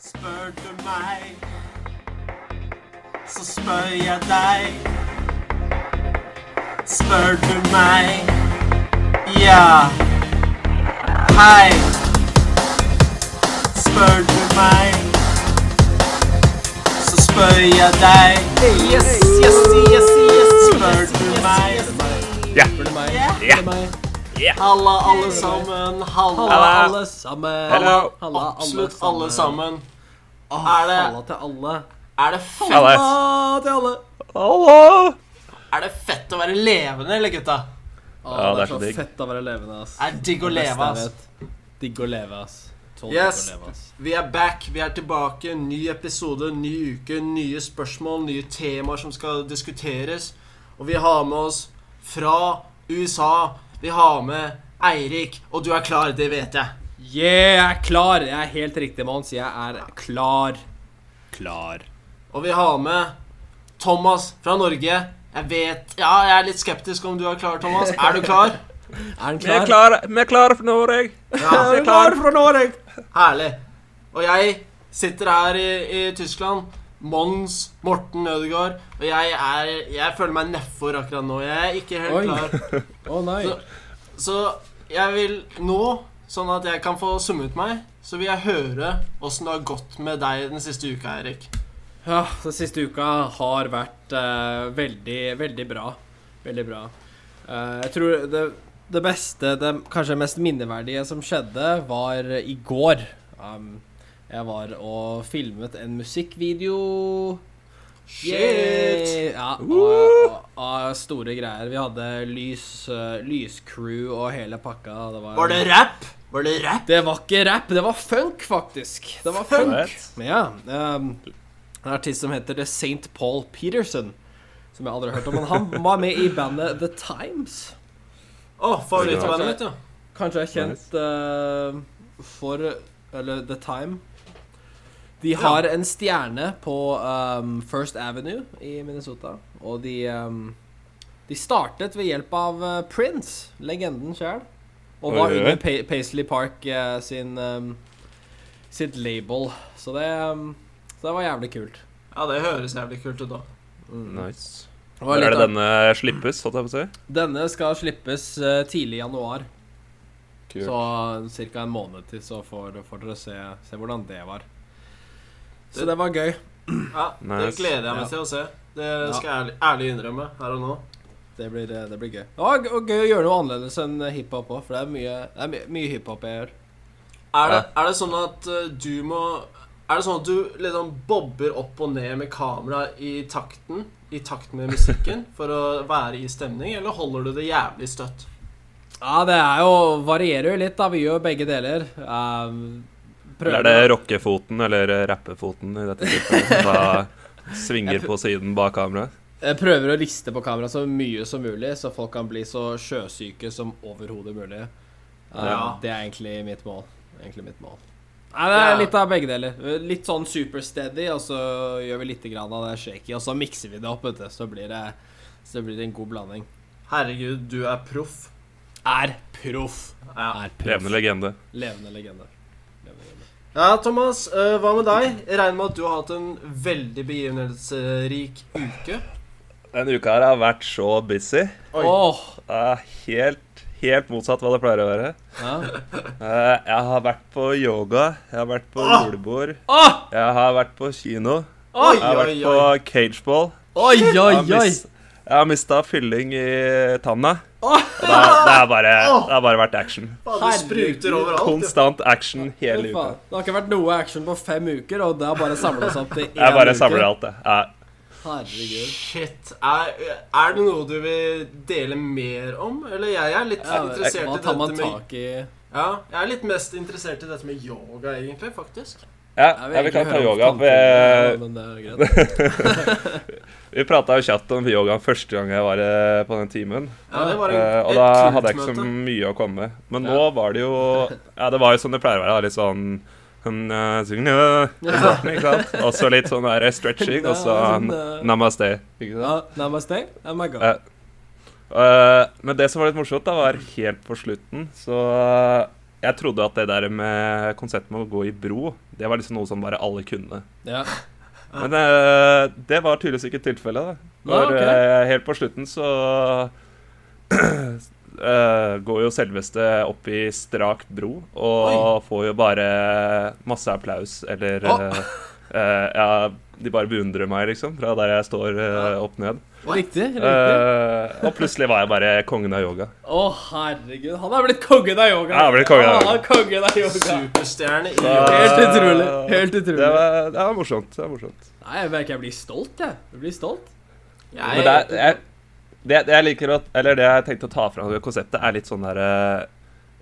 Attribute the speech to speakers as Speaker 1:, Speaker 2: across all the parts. Speaker 1: Spør du meg, så spør jeg deg. Spør du meg, ja. Hei. Spør du meg, så spør jeg deg. Yes, yes, yes, yes. Spør du meg,
Speaker 2: Ja.
Speaker 1: ja.
Speaker 2: Ja.
Speaker 1: Halla, alle sammen. Halla,
Speaker 2: Halla.
Speaker 3: alle sammen.
Speaker 2: Hello.
Speaker 3: Halla,
Speaker 1: absolutt alle sammen. Er det,
Speaker 3: Halla til alle.
Speaker 1: er det fett?
Speaker 2: Hallo.
Speaker 3: Halla til alle.
Speaker 2: Hallo.
Speaker 1: Er det fett å være levende, eller gutta?
Speaker 3: Å,
Speaker 2: Ja,
Speaker 3: det er så digg. fett å være levende, ass.
Speaker 1: Det er digg å
Speaker 3: Det beste
Speaker 1: leve, ass.
Speaker 3: jeg vet. Digg å leve, ass. Tolv
Speaker 1: Yes.
Speaker 3: digg å leve, ass.
Speaker 1: Vi er back, vi er tilbake. Ny episode, ny uke, nye spørsmål, nye temaer som skal diskuteres. Og vi har med oss fra USA. Vi har med Eirik, og du er klar, det vet jeg.
Speaker 3: Yeah, jeg er klar. Jeg er helt riktig, Mons. Jeg er klar. Klar.
Speaker 1: Og vi har med Thomas fra Norge. Jeg vet Ja, jeg er litt skeptisk om du er klar, Thomas. Er du klar?
Speaker 3: Er han
Speaker 2: Vi er
Speaker 3: klar?
Speaker 2: klare, vi er klare for Norge.
Speaker 1: Ja.
Speaker 2: Vi er klare
Speaker 3: fra Norge.
Speaker 1: Herlig. Og jeg sitter her i, i Tyskland. Mons Morten Ødegaard. Og jeg er Jeg føler meg nedfor akkurat nå. Jeg er ikke helt
Speaker 3: Oi.
Speaker 1: klar.
Speaker 3: Å nei.
Speaker 1: Så- Så jeg vil nå, sånn at jeg kan få summet meg, så vil jeg høre åssen det har gått med deg den siste uka, Eirik.
Speaker 3: Ja, den siste uka har vært eh, veldig, veldig bra. Veldig bra. Eh, jeg tror det, det beste, det kanskje mest minneverdige som skjedde, var i går. Um, jeg var og filmet en musikkvideo.
Speaker 1: Shit!
Speaker 3: Yay! Ja, og, og, og store greier. Vi hadde lys, eh, lyscrew og hele pakka. Det var,
Speaker 1: Var det rap? Var det rap?
Speaker 3: det var ikke rap, det var funk, faktisk. Det var funk. Men Ja. ehm, en artist som heter St. Paul Peterson. Som jeg aldri har hørt om. Men han var med i bandet The Times.
Speaker 1: Å, favorittbandet mitt, ja.
Speaker 3: Kanskje er kjent eh, for Eller The Time. De har en stjerne på ehm, First Avenue i Minnesota. Og de ehm, De startet ved hjelp av eh, Prince, legenden sjøl. Og var
Speaker 2: Oi, oi, oi.
Speaker 3: under Pa- Paisley Park eh, sin ehm, sitt label. Så det, ehm, så det var jævlig kult.
Speaker 1: Ja, det høres jævlig kult ut, da.
Speaker 2: Mm, Nice.
Speaker 3: Det var
Speaker 2: Når er
Speaker 3: litt
Speaker 2: det
Speaker 3: av-
Speaker 2: denne slippes, holdt jeg på å si?
Speaker 3: Denne skal slippes eh, tidlig i januar,
Speaker 2: Kult.
Speaker 3: så ca. en måned til så får, får dere se, se hvordan det var. Så
Speaker 1: Det-
Speaker 3: det var gøy.
Speaker 1: Ja, Det
Speaker 2: Nice.
Speaker 1: gleder jeg
Speaker 3: Ja.
Speaker 1: meg til å se. Det skal jeg ærlig, ærlig innrømme her og nå.
Speaker 3: Det blir, eh, det blir gøy. Det var g- og gøy å gjøre noe annerledes enn eh, hiphop òg, for det er mye, det er my mye hiphop jeg gjør.
Speaker 1: Er det, er det sånn at eh, du må Er det sånn at du liksom bobber opp og ned med kamera i takten? I takt med musikken for å være i stemning, eller holder du det jævlig støtt?
Speaker 3: Ja, det er jo varierer jo litt, da. Vi gjør begge deler. Um,
Speaker 2: Eller er det rockefoten eller rappefoten i dette tilfellet? Da svinger på siden bak kameraet?
Speaker 3: Jeg prøver å riste på kamera så mye som mulig, så folk kan bli så sjøsyke som overhodet mulig. Eh,
Speaker 1: Ja.
Speaker 3: Det er egentlig mitt mål. Egentlig mitt mål. Nei, det er
Speaker 1: Ja.
Speaker 3: litt av begge deler. Litt sånn super steady, og så gjør vi litt grann av det shaky, og så mikser vi det opp, vet du. Så blir det, så blir det en god blanding.
Speaker 1: Herregud, du er proff.
Speaker 3: Er proff.
Speaker 1: Ja.
Speaker 3: Er proff.
Speaker 2: Levende legende.
Speaker 3: Levende legende. Levende legende.
Speaker 1: ja, Thomas, eh, hva med deg? Jeg regner med at du har hatt en veldig begivenhetsrik uke.
Speaker 2: Denne uka her har vært så busy.
Speaker 1: Oi.
Speaker 3: Åh!
Speaker 2: Det er helt, helt motsatt hva det pleier å være.
Speaker 3: Ja.
Speaker 2: Eh, Jeg har vært på yoga, jeg har vært på julebord,
Speaker 3: Åh!
Speaker 2: jeg har vært på kino,
Speaker 1: Oi,
Speaker 2: jeg har
Speaker 1: oi,
Speaker 2: vært på
Speaker 1: oi.
Speaker 2: cageball.
Speaker 3: Oi, oi,
Speaker 2: Jeg har
Speaker 3: oi!
Speaker 2: mis- Jeg har mista fylling i tanna. Og det, er- det, er bare, det har bare vært action.
Speaker 1: Faen, du spruter
Speaker 3: Herregud.
Speaker 1: overalt.
Speaker 2: Konstant action hele
Speaker 3: Fy
Speaker 2: uka.
Speaker 3: faen. Det har ikke vært noe action på fem uker, og det har bare samla oss opp til én uke.
Speaker 2: Jeg bare samler alt, jeg. Ja.
Speaker 1: du.
Speaker 3: Herregud.
Speaker 1: Shit. Er, er det noe du vil dele mer om? Eller jeg er litt
Speaker 3: Ja,
Speaker 1: interessert i
Speaker 3: hva
Speaker 1: dette
Speaker 3: tar man
Speaker 1: med
Speaker 3: tak i?
Speaker 1: Ja, jeg er litt mest interessert i dette med yoga, egentlig, faktisk.
Speaker 2: Ja, ja, vi kan ta yoga. Vi,
Speaker 3: Vi...
Speaker 2: vi prata jo kjapt om yogaen første gang jeg var eh, på den timen.
Speaker 1: Ja, det var en,
Speaker 2: Eh, Og
Speaker 1: et
Speaker 2: da
Speaker 1: kult
Speaker 2: hadde jeg ikke så
Speaker 1: møte.
Speaker 2: mye å komme med. Men
Speaker 3: Ja.
Speaker 2: nå var det jo Ja, det var jo som det pleier å være. Litt sånn sånn, eh, sånn, eh, i starten, ikke sant? Og så litt sånn der stretching, og så
Speaker 3: Sånn, eh,
Speaker 2: namaste. Ikke sant?
Speaker 3: Ja, namaste. Oh my god.
Speaker 2: Ja. Eh, men det som var litt morsomt, da, var helt på slutten, så eh, Jeg trodde at det der med konseptet med å gå i bro, det var liksom noe som bare alle kunne.
Speaker 3: Ja.
Speaker 2: Men eh, det var tydeligvis ikke tilfellet. da.
Speaker 3: Ah,
Speaker 2: For
Speaker 3: ok.
Speaker 2: eh, helt på slutten så eh, går jo selveste opp i strakt bro og får jo bare masse applaus eller
Speaker 1: Å.
Speaker 2: eh, eh, Ja, de bare beundrer meg, liksom, fra der jeg står eh, opp ned.
Speaker 3: Riktig. riktig.
Speaker 2: Eh, og plutselig var jeg bare kongen av yoga.
Speaker 3: Å, herregud. Han er blitt kongen av yoga.
Speaker 2: Ja, han er blitt kongen av yoga.
Speaker 3: Han er kongen av yoga.
Speaker 1: Superstjerne i
Speaker 2: Så-
Speaker 3: Ah, Helt utrolig.
Speaker 2: Ah,
Speaker 3: Helt
Speaker 2: Det
Speaker 3: utrolig.
Speaker 2: var, det var morsomt. Det var morsomt.
Speaker 3: Nei, jeg merker jeg blir stolt, jeg. Jeg blir stolt.
Speaker 2: Men det, er, jeg, det, det jeg liker at, eller det jeg tenkte å ta fram i konseptet, er litt sånn der eh,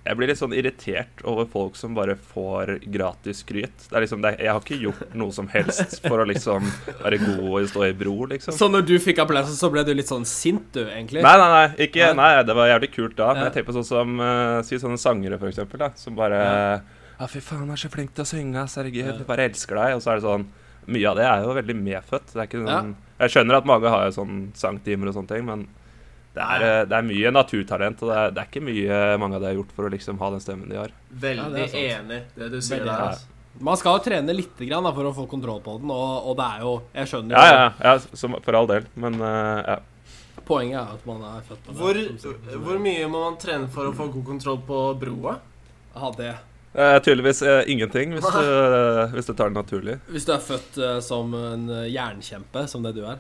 Speaker 2: Jeg blir litt sånn irritert over folk som bare får gratis skryt. Det er liksom, det, er- jeg har ikke gjort noe som helst for å liksom være god og stå i bro, liksom.
Speaker 3: Så når du fikk applaus, så ble du litt sånn sint, du, egentlig?
Speaker 2: Nei, nei, nei, ikke,
Speaker 3: Nei.
Speaker 2: nei, det var jævlig kult da. Men
Speaker 3: Ja.
Speaker 2: jeg tenker på sånn som eh, Si sånne sangere, for eksempel, da, som bare
Speaker 3: Ja.
Speaker 2: Ja, fy faen, du er så flink til å synge, ass, herregud,
Speaker 3: Ja.
Speaker 2: vi bare elsker deg. Og så er det sånn Mye av det er jo veldig medfødt. Det er ikke
Speaker 3: Ja.
Speaker 2: sånn Jeg skjønner at mange har jo sånn sangtimer og sånne ting, men det er, eh, det er mye naturtalent, og det er, det er ikke mye mange av de har gjort for å liksom ha den stemmen de har.
Speaker 1: Veldig
Speaker 3: Ja, det er sant.
Speaker 1: enig, det du sier
Speaker 3: Veldig
Speaker 1: der.
Speaker 2: enig.
Speaker 1: Altså.
Speaker 3: Man skal jo trene lite grann da, for å få kontroll på den, og, og det er jo Jeg skjønner
Speaker 2: Ja,
Speaker 3: jo
Speaker 2: ja, ja, som, for all del, men eh, ja.
Speaker 3: poenget er at man er født på det.
Speaker 1: Hvor,
Speaker 3: som sagt.
Speaker 1: hvor mye må man trene for å få god kontroll på broa?
Speaker 3: Ha det.
Speaker 2: Eh, tydeligvis eh, ingenting, hvis du, eh, hvis du tar det naturlig.
Speaker 3: Hvis du er født eh, som en eh, jernkjempe, som det du er.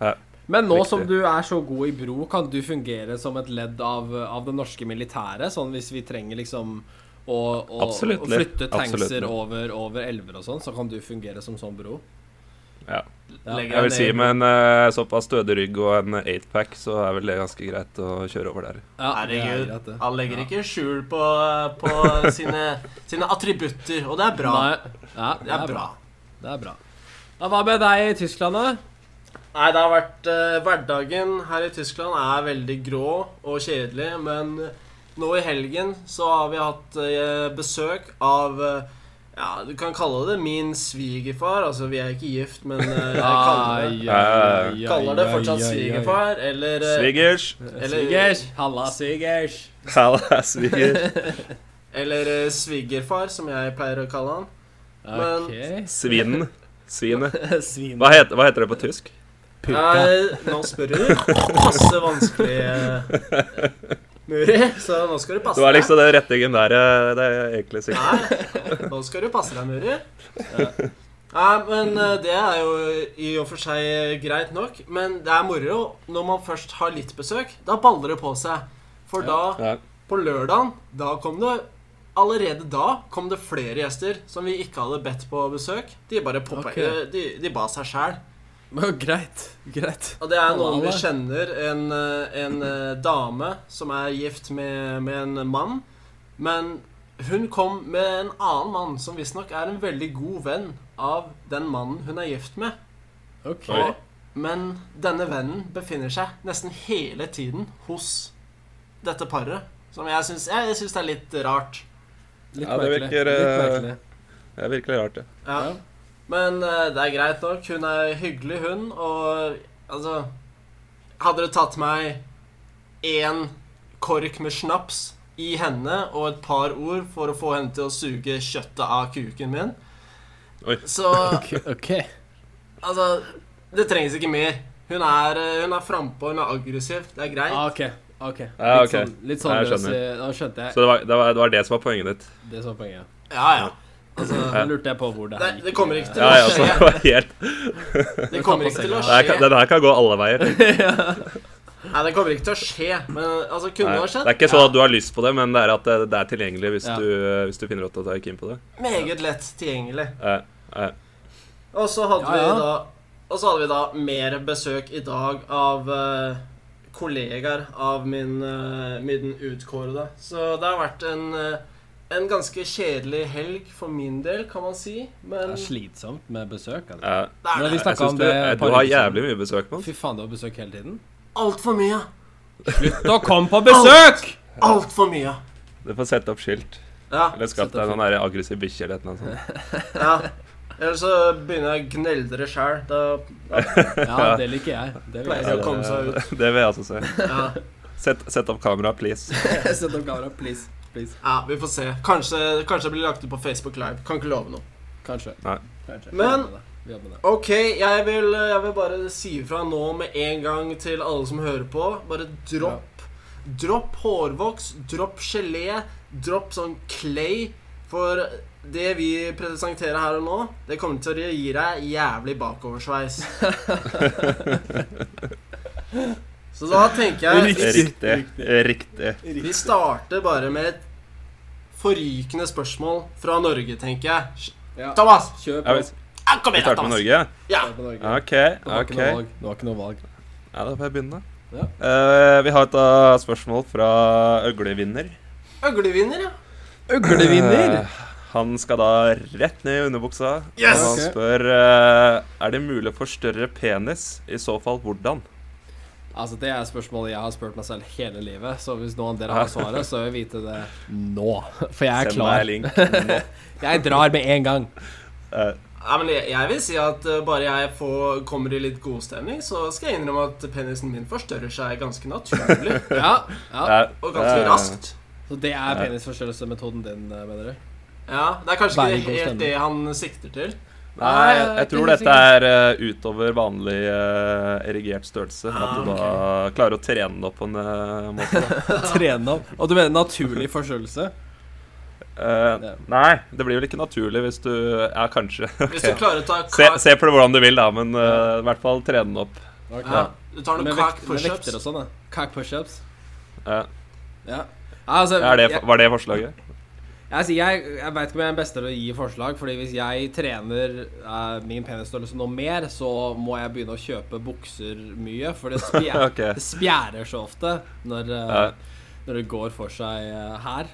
Speaker 2: Eh,
Speaker 3: Men nå
Speaker 2: Riktig.
Speaker 3: som du er så god i bro, kan du fungere som et ledd av, av det norske militæret? Sånn hvis vi trenger liksom å, å, å
Speaker 2: Absolutt.
Speaker 3: flytte tankser
Speaker 2: Absolutt.
Speaker 3: over, over elver og sånn, så kan du fungere som sånn bro?
Speaker 2: Ja.
Speaker 3: Ja.
Speaker 1: Legger
Speaker 2: Jeg vil si
Speaker 1: ned-
Speaker 2: med en eh, såpass stødig rygg og en 8-pack, så er vel det ganske greit å kjøre over der.
Speaker 3: Ja, det er
Speaker 1: Herregud,
Speaker 3: greit, det.
Speaker 1: han legger
Speaker 3: Ja.
Speaker 1: ikke skjul på, på sine, sine attributter, og det er bra.
Speaker 3: Nei. Ja,
Speaker 1: Det er bra.
Speaker 3: Det er bra. Ja, hva med deg i Tyskland, da?
Speaker 1: Nei, det har vært eh, Hverdagen her i Tyskland er veldig grå og kjedelig, men nå i helgen så har vi hatt eh, besøk av eh, ja, du kan kalle det min svigerfar. Altså, vi er ikke gift, men eh, jeg kaller det,
Speaker 3: Ai, ai, ai,
Speaker 1: kaller det
Speaker 3: ai,
Speaker 1: fortsatt
Speaker 3: ai, ai.
Speaker 1: svigerfar, eller eh,
Speaker 2: Svigers!
Speaker 1: Eller-
Speaker 3: Svigers. Halla, svigers.
Speaker 2: Halla, sviger.
Speaker 1: Eller eh, svigerfar, som jeg pleier å kalle han. Men-
Speaker 3: Ok.
Speaker 2: Svinen. Svinet.
Speaker 3: Svin.
Speaker 2: Hva heter, hva heter det på tysk?
Speaker 1: Nei, Eh, nå spør du masse vanskelig eh, Muri, så nå skal du passe
Speaker 2: Det var liksom den rettingen der eh, det er egentlig
Speaker 1: deg.
Speaker 2: sikkert.
Speaker 1: Nei, nå skal du passe deg, Muri. Nei, men eh, det er jo i og for seg greit nok. Men det er moro når man først har litt besøk. Da baller det på seg. For da,
Speaker 2: Ja.
Speaker 1: på lørdagen, da kom det Allerede da kom det flere gjester som vi ikke hadde bedt på besøk. De bare poppa,
Speaker 3: Ok.
Speaker 1: eh, de, de ba seg sjæl.
Speaker 3: Men Greit. Greit.
Speaker 1: Og det er noen vi
Speaker 3: Halala.
Speaker 1: kjenner, en, eh, en eh, dame som er gift med, med en mann. Men hun kom med en annen mann som visstnok er en veldig god venn av den mannen hun er gift med.
Speaker 3: Ok.
Speaker 2: Oi.
Speaker 1: Men denne vennen befinner seg nesten hele tiden hos dette paret. Som jeg syns, jeg, syns det er litt rart.
Speaker 3: Litt
Speaker 2: Ja, det
Speaker 3: merkelig.
Speaker 2: virker,
Speaker 3: Litt
Speaker 2: eh,
Speaker 3: merkelig.
Speaker 2: Det er virkelig rart, det.
Speaker 1: Ja.
Speaker 3: Ja.
Speaker 1: Men eh, det er greit nok. Hun er hyggelig, hun. Og altså Hadde det tatt meg én kork med snaps i henne og et par ord for å få henne til å suge kjøttet av kuken min,
Speaker 2: Oi.
Speaker 1: så
Speaker 3: Ok.
Speaker 1: altså Det trengs ikke mer. Hun er, eh, hun er frampå, hun er aggressiv. Det er greit.
Speaker 3: Ah, ok. ok. Litt
Speaker 2: Ja, ok.
Speaker 3: sånn, litt sånn
Speaker 2: Ja, jeg
Speaker 3: løs i
Speaker 2: skjønner.
Speaker 3: Nå skjønte jeg.
Speaker 2: Så det var, det, var, det var det som var poenget ditt.
Speaker 3: Det som var poenget.
Speaker 1: Ja, ja.
Speaker 3: Nå lurte jeg på hvor det
Speaker 1: Nei,
Speaker 3: her gikk.
Speaker 1: det kommer ikke til
Speaker 2: Ja, ja, så det var helt
Speaker 1: Det kommer ikke til å
Speaker 2: det her kan,
Speaker 1: skje.
Speaker 2: Den her kan gå alle veier. Nei,
Speaker 1: Nei, det kommer ikke til å skje, men altså,
Speaker 2: Det
Speaker 1: kunne det ha skjedd?
Speaker 2: er ikke sånn at du har lyst på det, men det er at det, det er tilgjengelig hvis,
Speaker 3: Ja.
Speaker 2: du, eh, hvis du finner ut at du er keen på det.
Speaker 1: Meget lett tilgjengelig.
Speaker 2: Eh, eh.
Speaker 1: Og så hadde,
Speaker 3: Ja, ja.
Speaker 1: Vi da, og så hadde vi da mer besøk i dag av eh, kollegaer av min, eh, min utkårede. Så det har vært en, eh, en ganske kjedelig helg for min del, kan man si.
Speaker 3: Det
Speaker 1: Men
Speaker 3: er slitsomt med besøk. Altså.
Speaker 2: eh.
Speaker 1: det
Speaker 3: Men
Speaker 1: er
Speaker 3: vi
Speaker 1: det.
Speaker 2: Jeg
Speaker 3: snakka
Speaker 2: synes
Speaker 3: om
Speaker 2: du,
Speaker 3: det
Speaker 2: eh,
Speaker 3: et
Speaker 2: du
Speaker 3: par
Speaker 2: har
Speaker 3: uker siden.
Speaker 2: jævlig mye besøk, mann.
Speaker 3: Fy faen, du har besøk hele tiden?
Speaker 1: Altfor mye.
Speaker 3: Slutt å komme på besøk!
Speaker 1: Altfor mye.
Speaker 2: Du får sette opp skilt.
Speaker 1: Ja,
Speaker 2: Eller skaff deg en sånn der aggressiv bikkje eller et eller annet sånt.
Speaker 1: ja. Ellers så begynner jeg å gneldre sjæl. Da
Speaker 3: Ja, det liker jeg. Det vil
Speaker 1: Ja,
Speaker 3: jeg.
Speaker 1: det- komme seg
Speaker 2: det vil jeg altså se.
Speaker 1: ja.
Speaker 2: Sett, sett opp kamera, please.
Speaker 3: Sett opp kamera, please. please.
Speaker 1: Ja, vi får se. Kanskje, kanskje det blir lagt ut på Facebook Live. Kan ikke love noe.
Speaker 3: Kanskje.
Speaker 2: Nei.
Speaker 3: Kanskje.
Speaker 1: Men-
Speaker 3: Vi jobber med det.
Speaker 1: Ok, jeg vil, jeg vil bare si ifra nå med en gang til alle som hører på. Bare dropp. Dropp hårvoks, dropp gelé, dropp sånn clay. For det vi presenterer her og nå, det kommer til å gi deg jævlig bakoversveis. Så da tenker jeg
Speaker 2: Riktig. Riktig.
Speaker 1: Vi starter bare med et forrykende spørsmål fra Norge, tenker jeg.
Speaker 3: Ja.
Speaker 1: Thomas!
Speaker 3: Kjør
Speaker 2: Ja,
Speaker 3: på.
Speaker 2: vi
Speaker 1: Ja, Kom
Speaker 2: vi
Speaker 1: igjen,
Speaker 2: starter med
Speaker 1: Thomas!
Speaker 2: Norge.
Speaker 1: Ja.
Speaker 3: Kjør på Norge.
Speaker 2: OK.
Speaker 3: Det var
Speaker 2: ok.
Speaker 3: ikke noe valg. Det var ikke noe valg.
Speaker 2: Ja, da får jeg begynne.
Speaker 3: Ja.
Speaker 2: Eh, vi har et da, spørsmål fra Øglevinner.
Speaker 1: Øglevinner, ja.
Speaker 2: Eh, han skal da rett ned i underbuksa.
Speaker 1: Yes!
Speaker 2: Og han
Speaker 3: Ok.
Speaker 2: spør eh, Er det mulig å få større penis. I så fall hvordan?
Speaker 3: Altså, det er spørsmålet jeg har spurt meg selv hele livet, så hvis noen av dere har svaret, så vil jeg vite det nå. For jeg er
Speaker 2: Send meg
Speaker 3: klar.
Speaker 2: link nå.
Speaker 3: Jeg drar med en gang.
Speaker 2: Eh,
Speaker 1: Ja, men jeg, jeg vil si at eh, bare jeg får, kommer i litt godstemning, så skal jeg innrømme at penisen min forstørrer seg ganske naturlig
Speaker 3: Ja, ja.
Speaker 2: det er-
Speaker 1: og
Speaker 2: det
Speaker 1: ganske
Speaker 2: er-
Speaker 1: raskt.
Speaker 3: Så det er penisforstørrelsesmetoden din, eh, mener du?
Speaker 1: Ja, Det er kanskje
Speaker 3: Veldig
Speaker 1: ikke
Speaker 3: god
Speaker 1: helt
Speaker 3: stemning.
Speaker 1: det han sikter til. eh,
Speaker 2: Nei, jeg, jeg
Speaker 3: ikke
Speaker 2: tror
Speaker 3: helt
Speaker 2: dette er eh, utover vanlig eh, erigert størrelse. At
Speaker 1: Ah,
Speaker 2: du da klarer å trene det opp på en eh, måte. da.
Speaker 3: Trene opp. Og du mener naturlig forstørrelse?
Speaker 2: Eh,
Speaker 3: Ja.
Speaker 2: nei, det blir vel ikke naturlig hvis du Ja, kanskje.
Speaker 1: Hvis du klarer å ta
Speaker 2: Se,
Speaker 1: kak
Speaker 2: se på det hvordan du vil, da, men eh, i hvert fall trene den opp.
Speaker 1: ja, Du tar
Speaker 3: Med
Speaker 1: noen
Speaker 3: vekt-
Speaker 1: kak
Speaker 3: med vekter og
Speaker 1: pushups.
Speaker 3: sånn, da. Cock pushups.
Speaker 2: Ja.
Speaker 3: Ja. Altså,
Speaker 2: Er det,
Speaker 3: jeg-
Speaker 2: var det forslaget?
Speaker 3: Jeg, sier- jeg, jeg veit ikke om jeg er den beste til å gi forslag, Fordi hvis jeg trener eh, min penisstørrelse noe mer, så må jeg begynne å kjøpe bukser mye, for det, spjæ
Speaker 2: Ok.
Speaker 3: det spjærer så ofte når, eh, når det går for seg eh, her.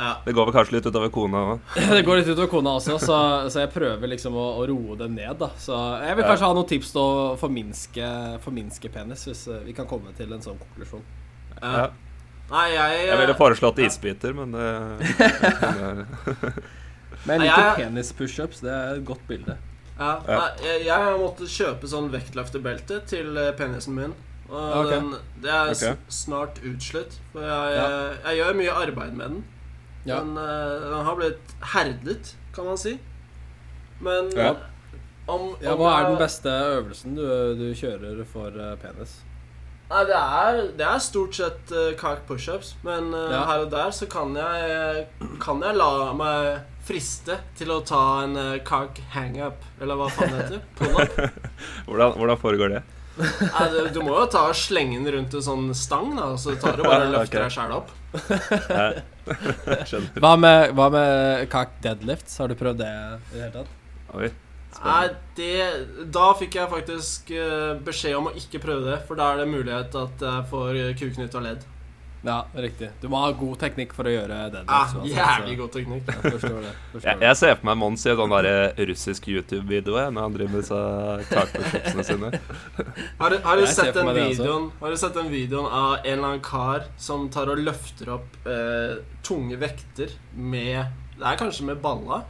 Speaker 1: Ja.
Speaker 2: Det går vel kanskje litt utover kona òg.
Speaker 3: Det går litt utover kona også, så, så jeg prøver liksom å, å roe dem ned. da Så jeg vil
Speaker 2: Ja.
Speaker 3: kanskje ha noen tips til å forminske, forminske penis, hvis eh, vi kan komme til en sånn konklusjon.
Speaker 1: Ja. Nei, jeg,
Speaker 2: Jeg ville
Speaker 1: eh,
Speaker 2: foreslått isbiter, men det, men eh, det-
Speaker 3: Men
Speaker 1: jeg liker
Speaker 3: penis-pushups. Det er et godt bilde.
Speaker 1: Ja, nei, jeg, jeg har måttet kjøpe sånn vektløftebelte til eh, penisen min. Og
Speaker 3: Ok.
Speaker 1: den, det er s-
Speaker 2: Ok.
Speaker 1: snart utslitt. For jeg, eh,
Speaker 3: Ja.
Speaker 1: jeg gjør mye arbeid med den.
Speaker 3: Ja.
Speaker 1: Den, eh, den har blitt herdet, kan man si. Men
Speaker 2: Ja.
Speaker 1: om, om
Speaker 3: Ja, Hva er den
Speaker 1: jeg-
Speaker 3: beste øvelsen du, du kjører for eh, penis?
Speaker 1: Nei, det er, det er stort sett uh, kak pushups, men eh,
Speaker 3: Ja.
Speaker 1: her og der så kan jeg, kan jeg la meg friste til å ta en uh, kak hangup, eller hva faen det heter. Pull-up.
Speaker 2: hvordan, hvordan foregår det?
Speaker 1: Nei, du, du må jo ta og slenge den rundt en sånn stang, da, så tar du bare og løfter deg sjæl opp.
Speaker 2: Jeg, skjønner.
Speaker 3: Hva med, hva med cock deadlifts? Har du prøvd det i det hele tatt?
Speaker 2: Oi.
Speaker 1: Nei, det, da fikk jeg faktisk eh, beskjed om å ikke prøve det, for da er det mulighet at jeg får eh, kuken ut av ledd.
Speaker 3: Ja, riktig. Du må ha god teknikk for å gjøre
Speaker 1: Ah,
Speaker 3: deadlifts.
Speaker 1: jævlig god teknikk.
Speaker 3: Jeg forstår det. Forstår
Speaker 2: Jeg, jeg ser for meg Mons i en sånn der russisk YouTube-video jeg, når han driver med disse kakepusjopsene sine.
Speaker 1: Har, du- har, du
Speaker 3: Jeg ser
Speaker 1: sett
Speaker 3: for
Speaker 1: den
Speaker 3: meg det altså. også.
Speaker 1: videoen, har du sett den videoen av en eller annen kar som tar og løfter opp eh, tunge vekter med Det er kanskje med balla?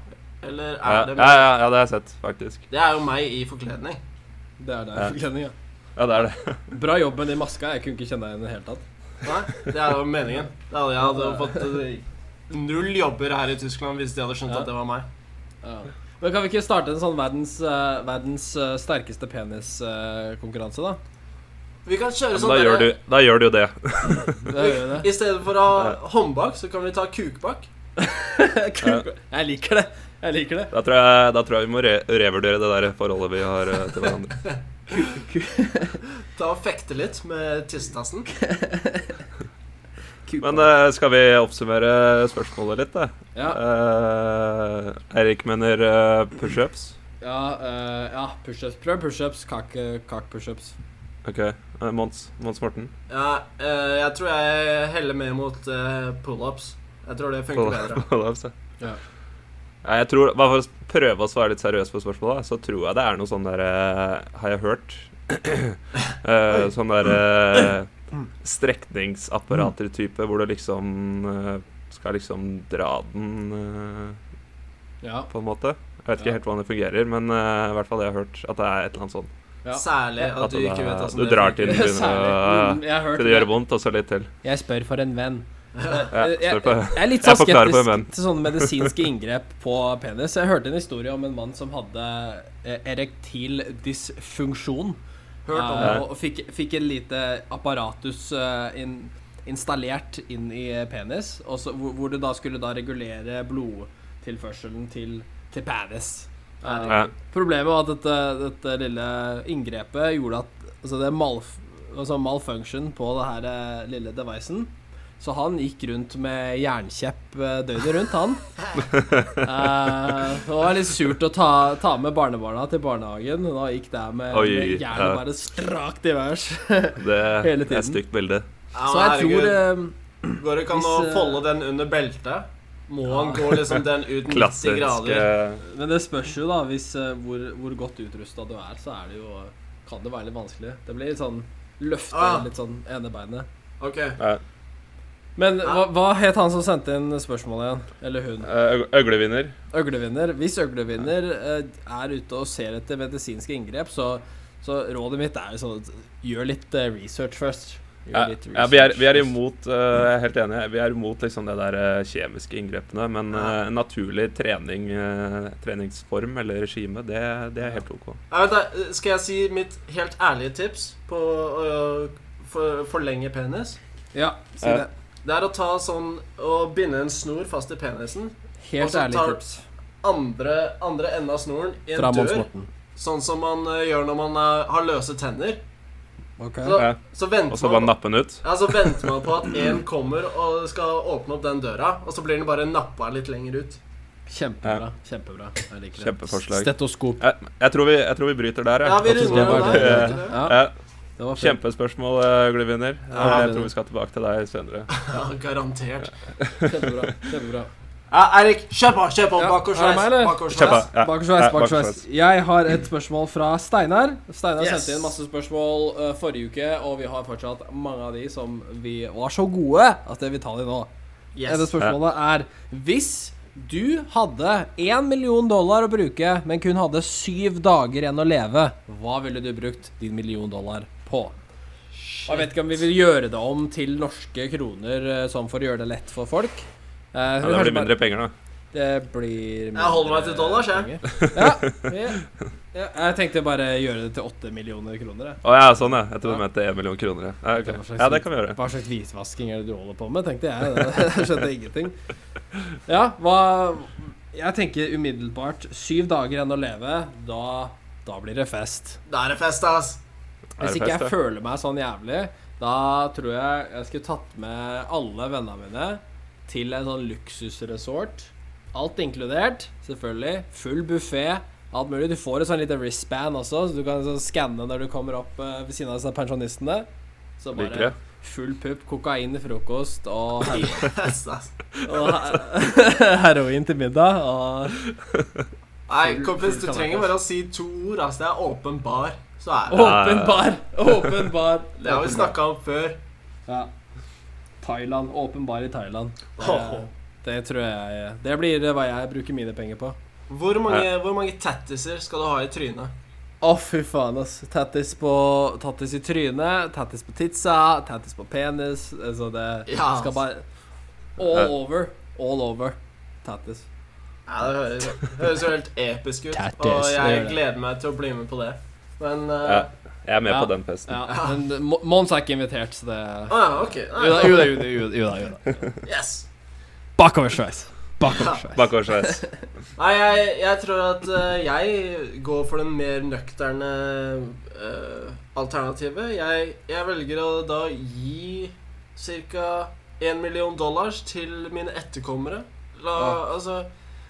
Speaker 1: Eller
Speaker 2: Ja,
Speaker 1: er det
Speaker 2: ja,
Speaker 1: med
Speaker 2: ja, ja, det har jeg sett, faktisk.
Speaker 1: Det er jo meg i forkledning.
Speaker 3: det. Det er det.
Speaker 2: Ja.
Speaker 3: Forkledning, ja.
Speaker 2: Ja, det er det.
Speaker 3: Bra jobb med den maska. Jeg kunne ikke kjenne deg igjen i det hele tatt.
Speaker 1: Nei, det er jo meningen. Det hadde jeg hadde fått eh, null jobber her i Tyskland hvis de hadde skjønt
Speaker 3: Ja.
Speaker 1: at det var meg.
Speaker 3: Ja. Men kan vi ikke starte en sånn verdens, eh, verdens eh, sterkeste penis-konkurranse, da?
Speaker 1: Vi kan kjøre
Speaker 2: Men
Speaker 1: sånn
Speaker 2: da gjør du,
Speaker 1: derre-
Speaker 2: da gjør du jo det.
Speaker 3: Da gjør vi det.
Speaker 1: I stedet for å ha håndbak, så kan vi ta kukbak.
Speaker 3: Kuk- Jeg liker det. Jeg liker det.
Speaker 2: Da tror jeg, da tror jeg vi må re revurdere det der forholdet vi har eh, til hverandre.
Speaker 1: Ta og fekte litt med tissetassen.
Speaker 2: Men eh, skal vi oppsummere spørsmålet litt, da?
Speaker 3: Ja.
Speaker 2: Eh, Erik mener eh, pushups.
Speaker 3: Ja, uh, ja pushups. Prøv pushups. Kak, eh, kak pushups.
Speaker 2: OK. eh, Mons, Mons Morten.
Speaker 1: Ja, eh, jeg tror jeg heller mer mot eh, pull-ups Jeg tror det funker bedre.
Speaker 2: Pull-ups, ja.
Speaker 3: Ja.
Speaker 2: Nei, jeg tror, bare for å prøve å svare litt seriøst på spørsmålet, da, så tror jeg det er noe sånn der eh, Har jeg hørt? Eh, sånn der eh, strekningsapparater-type, hvor du liksom eh, skal liksom dra den eh,
Speaker 3: Ja.
Speaker 2: på en måte. Jeg vet ikke
Speaker 3: Ja.
Speaker 2: helt hvordan det fungerer, men eh, i hvert fall det jeg har hørt, at det er et eller annet sånn.
Speaker 3: Ja.
Speaker 1: Særlig
Speaker 2: At
Speaker 1: at du
Speaker 2: det
Speaker 1: ikke vet
Speaker 2: er-
Speaker 1: åssen
Speaker 2: du
Speaker 1: det
Speaker 2: drar
Speaker 1: funker.
Speaker 2: til- begynner å-
Speaker 3: Særlig. Mm, jeg har hørt
Speaker 2: Til det gjør vondt, og så litt til.
Speaker 3: Jeg spør for en venn.
Speaker 2: Ja,
Speaker 3: Jeg, jeg,
Speaker 2: står på.
Speaker 3: jeg er litt
Speaker 2: Jeg
Speaker 3: sånn
Speaker 2: forklarer på
Speaker 3: skeptisk
Speaker 2: men.
Speaker 3: til sånne medisinske inngrep på penis. Jeg hørte en historie om en mann som hadde eh, erektil dysfunksjon.
Speaker 1: Hørt om
Speaker 3: eh,
Speaker 1: det.
Speaker 3: og fikk, fikk en lite apparatus eh, inn, installert inn i penis, og så, hvor, hvor det da skulle da regulere blodtilførselen til, til penis. Eh,
Speaker 2: Ja.
Speaker 3: Problemet var at dette, dette lille inngrepet gjorde at altså det malf, altså malfunction på det her eh, lille devicen. Så han gikk rundt med jernkjepp eh, døgnet rundt, han. Eh, det var litt surt å ta, ta med barnebarna til barnehagen. Da gikk det med,
Speaker 2: Oi,
Speaker 3: med jernet
Speaker 2: ja.
Speaker 3: bare strakt i værs.
Speaker 2: Det
Speaker 3: Hele
Speaker 2: er
Speaker 3: tiden.
Speaker 2: et stygt bilde.
Speaker 1: Ja,
Speaker 3: Så
Speaker 1: men
Speaker 3: jeg tror
Speaker 1: herregud,
Speaker 3: eh,
Speaker 1: Går det ikke an å
Speaker 3: hvis, eh,
Speaker 1: folde den under beltet? Må han gå liksom den ut 90
Speaker 2: Klassisk
Speaker 1: grader?
Speaker 2: eh,
Speaker 3: Men det spørs jo, da, hvis, eh, hvor, hvor godt utrusta du er, så er det jo Kan det være litt vanskelig. Det blir litt sånn løfte
Speaker 1: Ah.
Speaker 3: litt sånn ene beinet.
Speaker 1: Ok.
Speaker 2: ja. eh,
Speaker 3: Men hva, hva het han som sendte inn spørsmålet igjen? Eller hun?
Speaker 2: Eh, øg- Øglevinner.
Speaker 3: Øglevinner. Hvis øglevinner eh, er ute og ser etter medisinske inngrep, så, så rådet mitt er jo sånn Gjør litt eh, research først. Gjør
Speaker 2: Ja,
Speaker 3: litt
Speaker 2: ja, vi, er, vi er
Speaker 3: research
Speaker 2: imot eh, Jeg er helt enig. Vi er imot liksom det der eh, kjemiske inngrepene. Men
Speaker 1: Ja.
Speaker 2: eh, en naturlig trening, eh, treningsform eller regime, det, det er helt OK.
Speaker 1: Jeg vet, da, skal jeg si mitt helt ærlige tips på å for- forlenge penis?
Speaker 3: først. Ja, si
Speaker 2: Ja.
Speaker 3: det.
Speaker 1: Det er å ta sånn og binde en snor fast i penisen. Og
Speaker 3: Helt
Speaker 1: så
Speaker 3: ærlig
Speaker 1: tar-
Speaker 3: tips
Speaker 1: Andre, andre enden av snoren i en
Speaker 3: fra Mons
Speaker 1: dør.
Speaker 3: Morten.
Speaker 1: Sånn som man eh, gjør når man eh, har løse tenner.
Speaker 3: Ok.
Speaker 1: Så,
Speaker 2: Ja.
Speaker 1: så
Speaker 2: Og
Speaker 1: venter
Speaker 2: så bare
Speaker 1: man
Speaker 2: nappe den ut.
Speaker 1: ja, så Altså, venter man på at én kommer og skal åpne opp den døra, og så blir den bare nappa litt lenger ut.
Speaker 3: Kjempebra. Kjempebra. Jeg liker det.
Speaker 2: Kjempeforslag.
Speaker 3: Stetoskop.
Speaker 2: Jeg, jeg, tror vi, jeg tror vi bryter der,
Speaker 1: Ja, vi
Speaker 3: Jeg synes
Speaker 1: runder
Speaker 3: det
Speaker 1: av
Speaker 3: var
Speaker 1: der.
Speaker 2: det.
Speaker 1: gjør vi ikke det?
Speaker 3: Ja,
Speaker 2: Ja,
Speaker 3: det var fint.
Speaker 2: kjempespørsmål, Glyvinner.
Speaker 3: Ja,
Speaker 2: jeg tror vi skal tilbake til deg senere.
Speaker 1: Ja, garantert.
Speaker 3: Kjempebra. Kjempebra.
Speaker 1: Ja, Eirik, kjør på! Kjør på!
Speaker 3: Ja, er det meg, eller?
Speaker 1: Bakoversveis.
Speaker 2: Kjør på.
Speaker 1: Bakoversveis.
Speaker 2: Ja,
Speaker 3: Bakersveis,
Speaker 2: ja,
Speaker 3: bakersveis.
Speaker 2: bakersveis.
Speaker 3: Jeg har et spørsmål fra Steinar. Steinar
Speaker 1: Yes.
Speaker 3: sendte inn masse spørsmål eh, forrige uke, og vi har fortsatt mange av de som vi var så gode at vi tar de nå. Det
Speaker 1: Yes.
Speaker 3: spørsmålet er Hvis du hadde én million dollar å bruke, men kun hadde syv dager igjen å leve, hva ville du brukt din million dollar på? Og jeg vet ikke om vi vil gjøre det om til norske kroner, eh, sånn for å gjøre det lett for folk. Eh,
Speaker 2: Ja,
Speaker 3: kanskje
Speaker 2: det blir
Speaker 3: bare-
Speaker 2: mindre penger, da.
Speaker 3: det blir
Speaker 1: Jeg holder meg til dollars, jeg.
Speaker 3: penger. Ja, ja, ja, jeg tenkte bare gjøre det til åtte millioner kroner. Jeg.
Speaker 2: Å ja, sånn, ja. Jeg trodde du
Speaker 3: Ja.
Speaker 2: mente 1 million kroner. Ja, Ja, ok.
Speaker 3: Det var slags-
Speaker 2: ja det kan vi gjøre.
Speaker 3: Hva slags hvitvasking er det du holder på med, tenkte jeg. Jeg skjønte ingenting. Ja, hva Jeg tenker umiddelbart syv dager igjen å leve. Da, da blir det fest.
Speaker 1: Da er det fest, ass.
Speaker 3: Hvis
Speaker 2: det
Speaker 3: ikke jeg
Speaker 2: fest,
Speaker 3: føler meg sånn jævlig, da tror jeg jeg skulle tatt med alle vennene mine til en sånn luksusresort. Alt inkludert, selvfølgelig. Full buffé. Alt mulig. Du får et sånn lite wristband også, så du kan sånn skanne når du kommer opp eh, ved siden av disse pensjonistene. Så
Speaker 2: Liker
Speaker 3: bare
Speaker 2: det.
Speaker 3: full pupp, kokain til frokost og, her
Speaker 1: Fest, ass.
Speaker 3: og her heroin til middag. Og
Speaker 1: Nei, kompis, du trenger bare å si to ord. ass. Det er åpen bar. Så er det.
Speaker 2: Ja, ja,
Speaker 3: åpen
Speaker 2: ja.
Speaker 3: bar! Åpen bar.
Speaker 1: Det har vi snakka om før.
Speaker 3: Ja. Thailand. Åpenbar i Thailand.
Speaker 1: Åh.
Speaker 3: Det, det tror jeg Det blir hva jeg bruker mine penger på.
Speaker 1: Hvor mange, hvor mange tattiser skal du ha i trynet?
Speaker 3: Å, fy faen, ass. Tattis på Tattis i trynet, tattis på titsa, tattis på penis. Altså, det
Speaker 1: Ja.
Speaker 3: skal bare
Speaker 2: Ja.
Speaker 3: All over. All over. Tattis.
Speaker 1: Ja, Det høres, det høres jo helt episk ut,
Speaker 3: Tattis,
Speaker 1: og
Speaker 3: det
Speaker 1: jeg
Speaker 3: gjør det.
Speaker 1: gleder meg til å bli med på det. Men eh, Å
Speaker 2: Ja. Jeg er med
Speaker 3: Ja.
Speaker 2: på den festen.
Speaker 3: Ja, men Mo- Mons er ikke invitert, så det
Speaker 1: ja, ok.
Speaker 3: Jo da,
Speaker 1: Nei,
Speaker 3: jo da, jo da, jo da, jo da. Jo da.
Speaker 1: yes.
Speaker 3: Bakoversveis. Bakoversveis.
Speaker 2: Bakoversveis.
Speaker 1: Nei, jeg, jeg tror at eh, jeg går for den mer nøkterne eh, alternativet. Jeg, jeg velger å da gi ca. 1 million dollars til mine etterkommere. La,
Speaker 3: Ja.
Speaker 1: altså,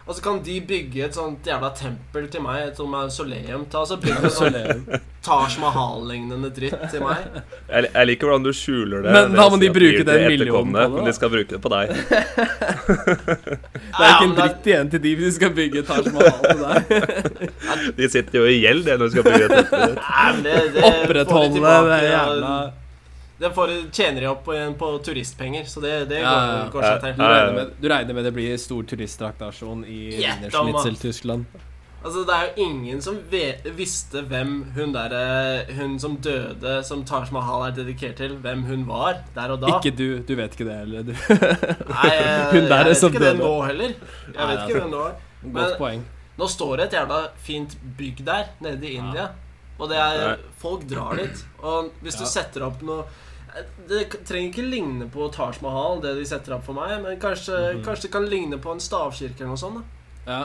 Speaker 1: altså kan de bygge et sånt jævla tempel til meg, et sånt mausoleum. Ta, altså bygge en sånn
Speaker 3: Mausoleum.
Speaker 1: Taj Mahal-lignende dritt til meg.
Speaker 2: Jeg, jeg liker hvordan du skjuler det.
Speaker 3: Men
Speaker 2: ved
Speaker 3: da
Speaker 2: å
Speaker 3: må
Speaker 2: si
Speaker 3: de
Speaker 2: at
Speaker 3: bruke
Speaker 2: gir til
Speaker 3: den millionen
Speaker 2: etterkommende,
Speaker 3: på det,
Speaker 2: Men
Speaker 3: da.
Speaker 2: de skal bruke det på deg.
Speaker 3: Det er ikke en
Speaker 1: Ja, men
Speaker 3: dritt igjen til de hvis de skal bygge Taj Mahal til deg.
Speaker 2: De sitter jo i gjeld, de, når de skal bygge et tempel.
Speaker 1: Nei, men det, det får de
Speaker 3: Opprettholde
Speaker 1: tilbake,
Speaker 3: det
Speaker 1: og
Speaker 3: jævla
Speaker 1: Det får, tjener de opp på, igjen på turistpenger, så det, det
Speaker 3: Ja, ja,
Speaker 1: går,
Speaker 3: ja.
Speaker 1: går seg
Speaker 2: Ja,
Speaker 1: til.
Speaker 3: du regner, med, du regner med det blir stor turistdragtasjon i
Speaker 1: Gjett om, ass.
Speaker 3: Schnitzel-Tyskland?
Speaker 1: Altså, det er jo ingen som ve- visste hvem hun der eh, Hun som døde, som Taj Mahal er dedikert til, hvem hun var der og da.
Speaker 3: Ikke du. Du vet ikke det heller, du.
Speaker 1: Nei, jeg,
Speaker 3: hun der
Speaker 1: jeg vet
Speaker 3: som
Speaker 1: ikke det
Speaker 3: døde.
Speaker 1: nå heller. Jeg
Speaker 3: Nei,
Speaker 1: vet
Speaker 3: det er
Speaker 1: ikke det nå. Men-
Speaker 3: Godt poeng.
Speaker 1: Nå står det et jævla fint bygg der, nede i India. Og det
Speaker 2: Nei.
Speaker 1: er Folk drar dit. Og hvis
Speaker 3: Ja.
Speaker 1: du setter opp noe Det k- trenger ikke ligne på Taj Mahal, det de setter opp for meg, men kanskje,
Speaker 3: Mhm.
Speaker 1: kanskje det kan ligne på en stavkirke eller noe sånt. da.
Speaker 3: Ja.